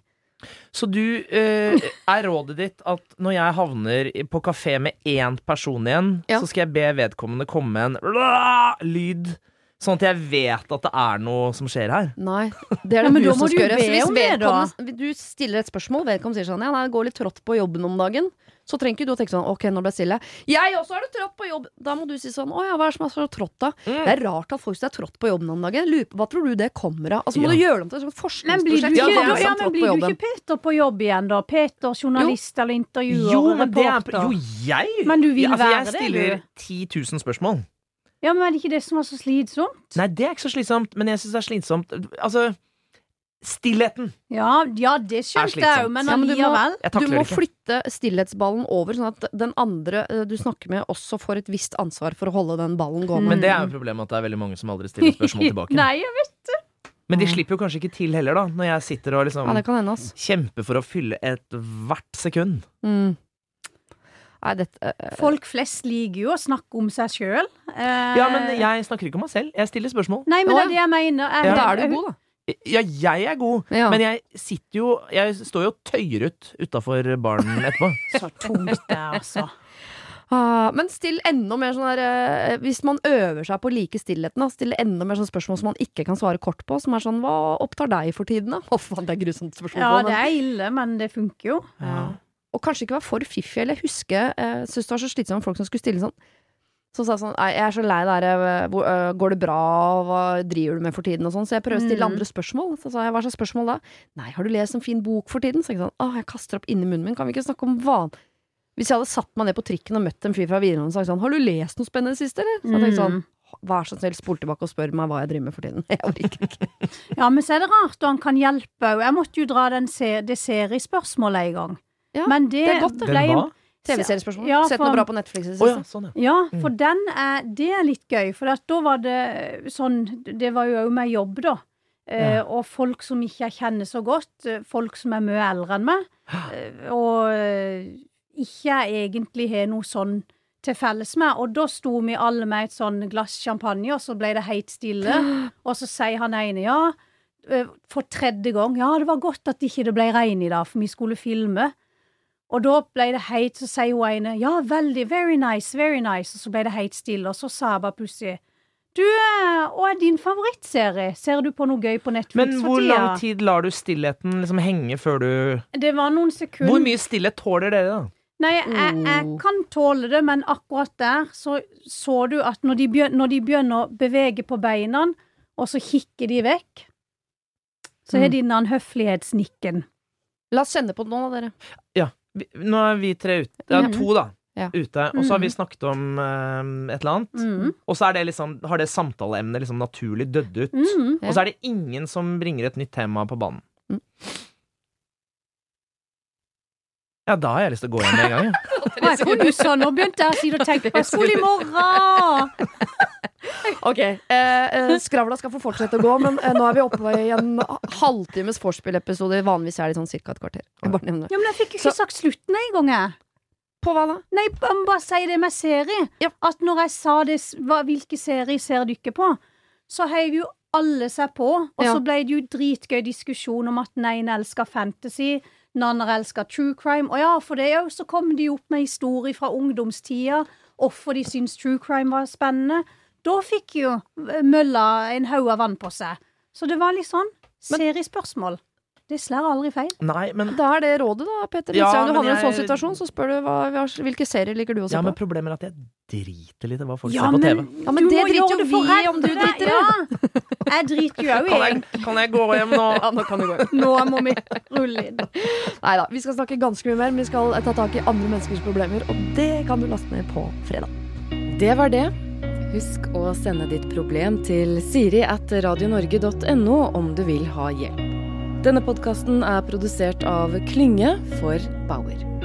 Speaker 3: Så du eh, Er rådet ditt at når jeg havner i- på kafé med én person igjen,
Speaker 1: Ja.
Speaker 3: så skal jeg be vedkommende komme med en bla- lyd, sånn at jeg vet at det er noe som skjer her?
Speaker 1: Nei, det er
Speaker 2: Ja,
Speaker 1: det
Speaker 2: men
Speaker 1: du
Speaker 2: da må
Speaker 1: som
Speaker 2: du
Speaker 1: skal
Speaker 2: jo
Speaker 1: gjøre. Så
Speaker 2: be
Speaker 1: hvis
Speaker 2: om det, da.
Speaker 1: vedkommende Du stiller et spørsmål, vedkommende sier sånn Ja, nei, det går litt trått på jobben om dagen. Så trenger ikke du å tenke sånn Ok, når ble jeg stille? Jeg også er det trått på jobb! Da må du si sånn Å ja, hva er det som er så trått, da? Det er rart at folk syns det er trått på jobben om dagen. Lurer på- Hva tror du det kommer av? Altså må
Speaker 3: Ja.
Speaker 1: du gjøre det om til et sånt
Speaker 2: Men blir du
Speaker 1: forskningsprosjekt.
Speaker 2: ikke,
Speaker 1: Hva
Speaker 2: ja,
Speaker 1: er det som er
Speaker 2: men
Speaker 1: trått på
Speaker 2: blir du
Speaker 1: jobben?
Speaker 2: ikke Peter på jobb igjen, da? Peter, journalist eller intervjuer
Speaker 3: Jo, men det er,
Speaker 2: reporter?
Speaker 3: jo, jeg
Speaker 2: Men du vil
Speaker 3: altså,
Speaker 2: være
Speaker 3: Jeg
Speaker 2: det,
Speaker 3: stiller
Speaker 2: du.
Speaker 3: 10 000 spørsmål.
Speaker 2: Ja, men er det ikke det som er så slitsomt?
Speaker 3: Nei, det er ikke så slitsomt, men jeg syns det er slitsomt Altså, stillheten!
Speaker 2: Ja, ja det skjønte jeg jo,
Speaker 3: slitsomt.
Speaker 2: men
Speaker 1: Ja, men du må-
Speaker 2: allikevel.
Speaker 3: Jeg
Speaker 1: Du
Speaker 3: takler
Speaker 1: må
Speaker 3: det ikke.
Speaker 1: flytte stillhetsballen over, sånn at den andre eh, du snakker med, også får et visst ansvar for å holde den ballen gående.
Speaker 3: Men det er jo problemet at det er veldig mange som aldri stiller spørsmål tilbake.
Speaker 2: Nei, jeg vet
Speaker 3: Men de slipper jo kanskje ikke til heller, da, når jeg sitter og liksom
Speaker 1: Ja, det kan hende, ass.
Speaker 3: kjemper for å fylle ethvert sekund.
Speaker 1: Mm. Nei, dette eh,
Speaker 2: Folk flest liker jo å snakke om seg sjøl.
Speaker 3: Ja, men
Speaker 1: Eh.
Speaker 3: jeg snakker ikke om meg selv. Jeg stiller spørsmål.
Speaker 2: Nei, men det
Speaker 1: Å, ja.
Speaker 2: er det jeg mener. Jeg,
Speaker 3: Ja.
Speaker 1: Da er du god, da.
Speaker 3: Ja, jeg er god,
Speaker 1: Ja.
Speaker 3: men jeg sitter jo Jeg står jo og tøyer ut utafor baren etterpå.
Speaker 2: Så tungt det, er, altså.
Speaker 1: Ah, men still enda mer sånn der eh, Hvis man øver seg på å like stillheten, da, still enda mer sånn spørsmål som man ikke kan svare kort på. Som er sånn Hva opptar deg for tiden, da? Å, faen, det er grusomt spørsmål.
Speaker 2: Ja,
Speaker 1: men-
Speaker 2: det er ille, men det funker jo.
Speaker 1: Ja. Og kanskje ikke være for fiffig, eller huske uh, Syns det var så slitsomt med folk som skulle stille sånn. Så sa jeg sånn Nei, jeg er så lei det her eh, hvor- eh, Går det bra? Hva driver du med for tiden? Og sånn. Så jeg prøver å stille
Speaker 2: Mm.
Speaker 1: andre spørsmål. Så sa jeg hva slags spørsmål da? Nei, har du lest en fin bok for tiden? Så jeg sånn Å, jeg kaster opp inni munnen min. Kan vi ikke snakke om van... Hvis jeg hadde satt meg ned på trikken og møtt en fyr fra videregående og sagt sånn Har du lest noe spennende sist, eller? Så jeg tenkte sånn
Speaker 2: Mm.
Speaker 1: Vær så snill, spol tilbake og spør meg hva jeg driver med for tiden. Jeg orker ikke.
Speaker 2: Ja, men så er det rart, og han kan hjelpe òg. Jeg måtte jo dra den se det seriespørsmålet en gang.
Speaker 1: Ja,
Speaker 2: Men det,
Speaker 1: det er godt, det.
Speaker 3: Den
Speaker 2: ble
Speaker 3: hva?
Speaker 1: TV-seriespørsmål.
Speaker 2: Ja,
Speaker 1: Sett
Speaker 2: for-
Speaker 1: noe bra på Netflix i det
Speaker 3: Å ja,
Speaker 1: siste?
Speaker 3: sånn, ja.
Speaker 2: Ja, for den er, det er litt gøy. For at da var det sånn Det var jo òg med jobb, da. Eh,
Speaker 3: Ja.
Speaker 2: Og folk som ikke jeg kjenner så godt. eh, Folk som er mye eldre enn meg. eh, Og eh, ikke jeg egentlig har noe sånn til felles med. Og da sto vi alle med et sånn glass champagne, og så ble det helt stille. Og så sier han ene ja. eh, For tredje gang. Ja, det var godt at ikke det ble regn i dag, for vi skulle filme. Og da ble det heit, så sier hun ene ja, veldig, very nice, very nice, og så ble det helt stille, og så sa jeg bare plutselig du, eh, hva er din favorittserie? Ser du på noe gøy på Netflix
Speaker 3: Men hvor
Speaker 2: for
Speaker 3: lang
Speaker 2: tida?
Speaker 3: tid lar du stillheten liksom henge før du
Speaker 2: Det var noen sekunder.
Speaker 3: Hvor mye stillhet tåler dere, da?
Speaker 2: Nei, jeg, jeg
Speaker 1: Oh.
Speaker 2: kan tåle det, men akkurat der så så du at når de, begyn, når de begynner å bevege på beina, og så kikker de vekk, så har de den der høflighetsnikken.
Speaker 1: La oss kjenne på noen av dere.
Speaker 3: Vi- Nå er vi tre ute. Ja,
Speaker 2: Mhm.
Speaker 3: to, da.
Speaker 1: Mm. Ja. Mm.
Speaker 3: Ute. Og så har vi snakket om eh, et eller annet.
Speaker 2: Mm.
Speaker 3: Og så er det liksom, har det samtaleemnet liksom naturlig dødd ut.
Speaker 2: Mm.
Speaker 1: Ja.
Speaker 3: Og så er det ingen som bringer et nytt tema på banen.
Speaker 1: Mm.
Speaker 3: Ja, da har jeg lyst til å gå hjem med en gang. jeg.
Speaker 2: Å, jeg kunne jo sånn, nå begynte jeg å si det og tenkte på skole i morgen!
Speaker 1: Ok, eh, eh, Skravla skal få fortsette å gå, men eh, nå er vi oppe i en halvtimes vorspiel-episode. Vanligvis er de sånn ca. et kvarter. Jeg bare nevner det.
Speaker 2: Ja, men jeg fikk jo
Speaker 1: Så-
Speaker 2: ikke sagt slutten en gang, jeg.
Speaker 1: På hva da?
Speaker 2: Nei, jeg må bare si det med serie.
Speaker 1: Ja.
Speaker 2: At når jeg sa det, s- hva, hvilke serier ser du ikke på, så heiv jo alle seg på, og
Speaker 1: Ja.
Speaker 2: så ble det jo dritgøy diskusjon om at den ene elsker fantasy, den andre elsker true crime, og ja, for det òg, så kom de jo opp med historier fra ungdomstida, hvorfor de syntes true crime var spennende. Da fikk jo eh, mølla en haug av vann på seg. Så det var litt sånn seriespørsmål. Det slår aldri feil.
Speaker 3: Nei, men,
Speaker 1: Da er det rådet, da, Peter. Hvis
Speaker 3: Ja,
Speaker 1: du
Speaker 3: men
Speaker 1: havner i en sånn
Speaker 3: jeg-
Speaker 1: situasjon, så spør du hva, hva, hvilke serier liker du å se
Speaker 3: ja, men
Speaker 1: på.
Speaker 3: problemet er at jeg driter litt i hva folk
Speaker 2: Ja,
Speaker 3: ser
Speaker 2: men,
Speaker 3: på TV.
Speaker 1: Ja, men
Speaker 2: du
Speaker 1: det
Speaker 2: må
Speaker 1: driter
Speaker 2: gjøre
Speaker 1: jo
Speaker 2: det for
Speaker 1: vi
Speaker 2: rett,
Speaker 1: om du
Speaker 2: det.
Speaker 1: driter i
Speaker 2: Ja. Jeg driter jo òg i
Speaker 3: Kan jeg, kan jeg gå hjem nå?
Speaker 1: Ja, nå kan du gå.
Speaker 2: Nå må vi rulle inn.
Speaker 1: Nei da. Vi skal snakke ganske mye mer, men vi skal eh, ta tak i andre menneskers problemer, og det kan du laste ned på fredag.
Speaker 4: Det var det. Husk å sende ditt problem til siri at radionorge.no om du vil ha hjelp. Denne podkasten er produsert av Klynge for Bauer.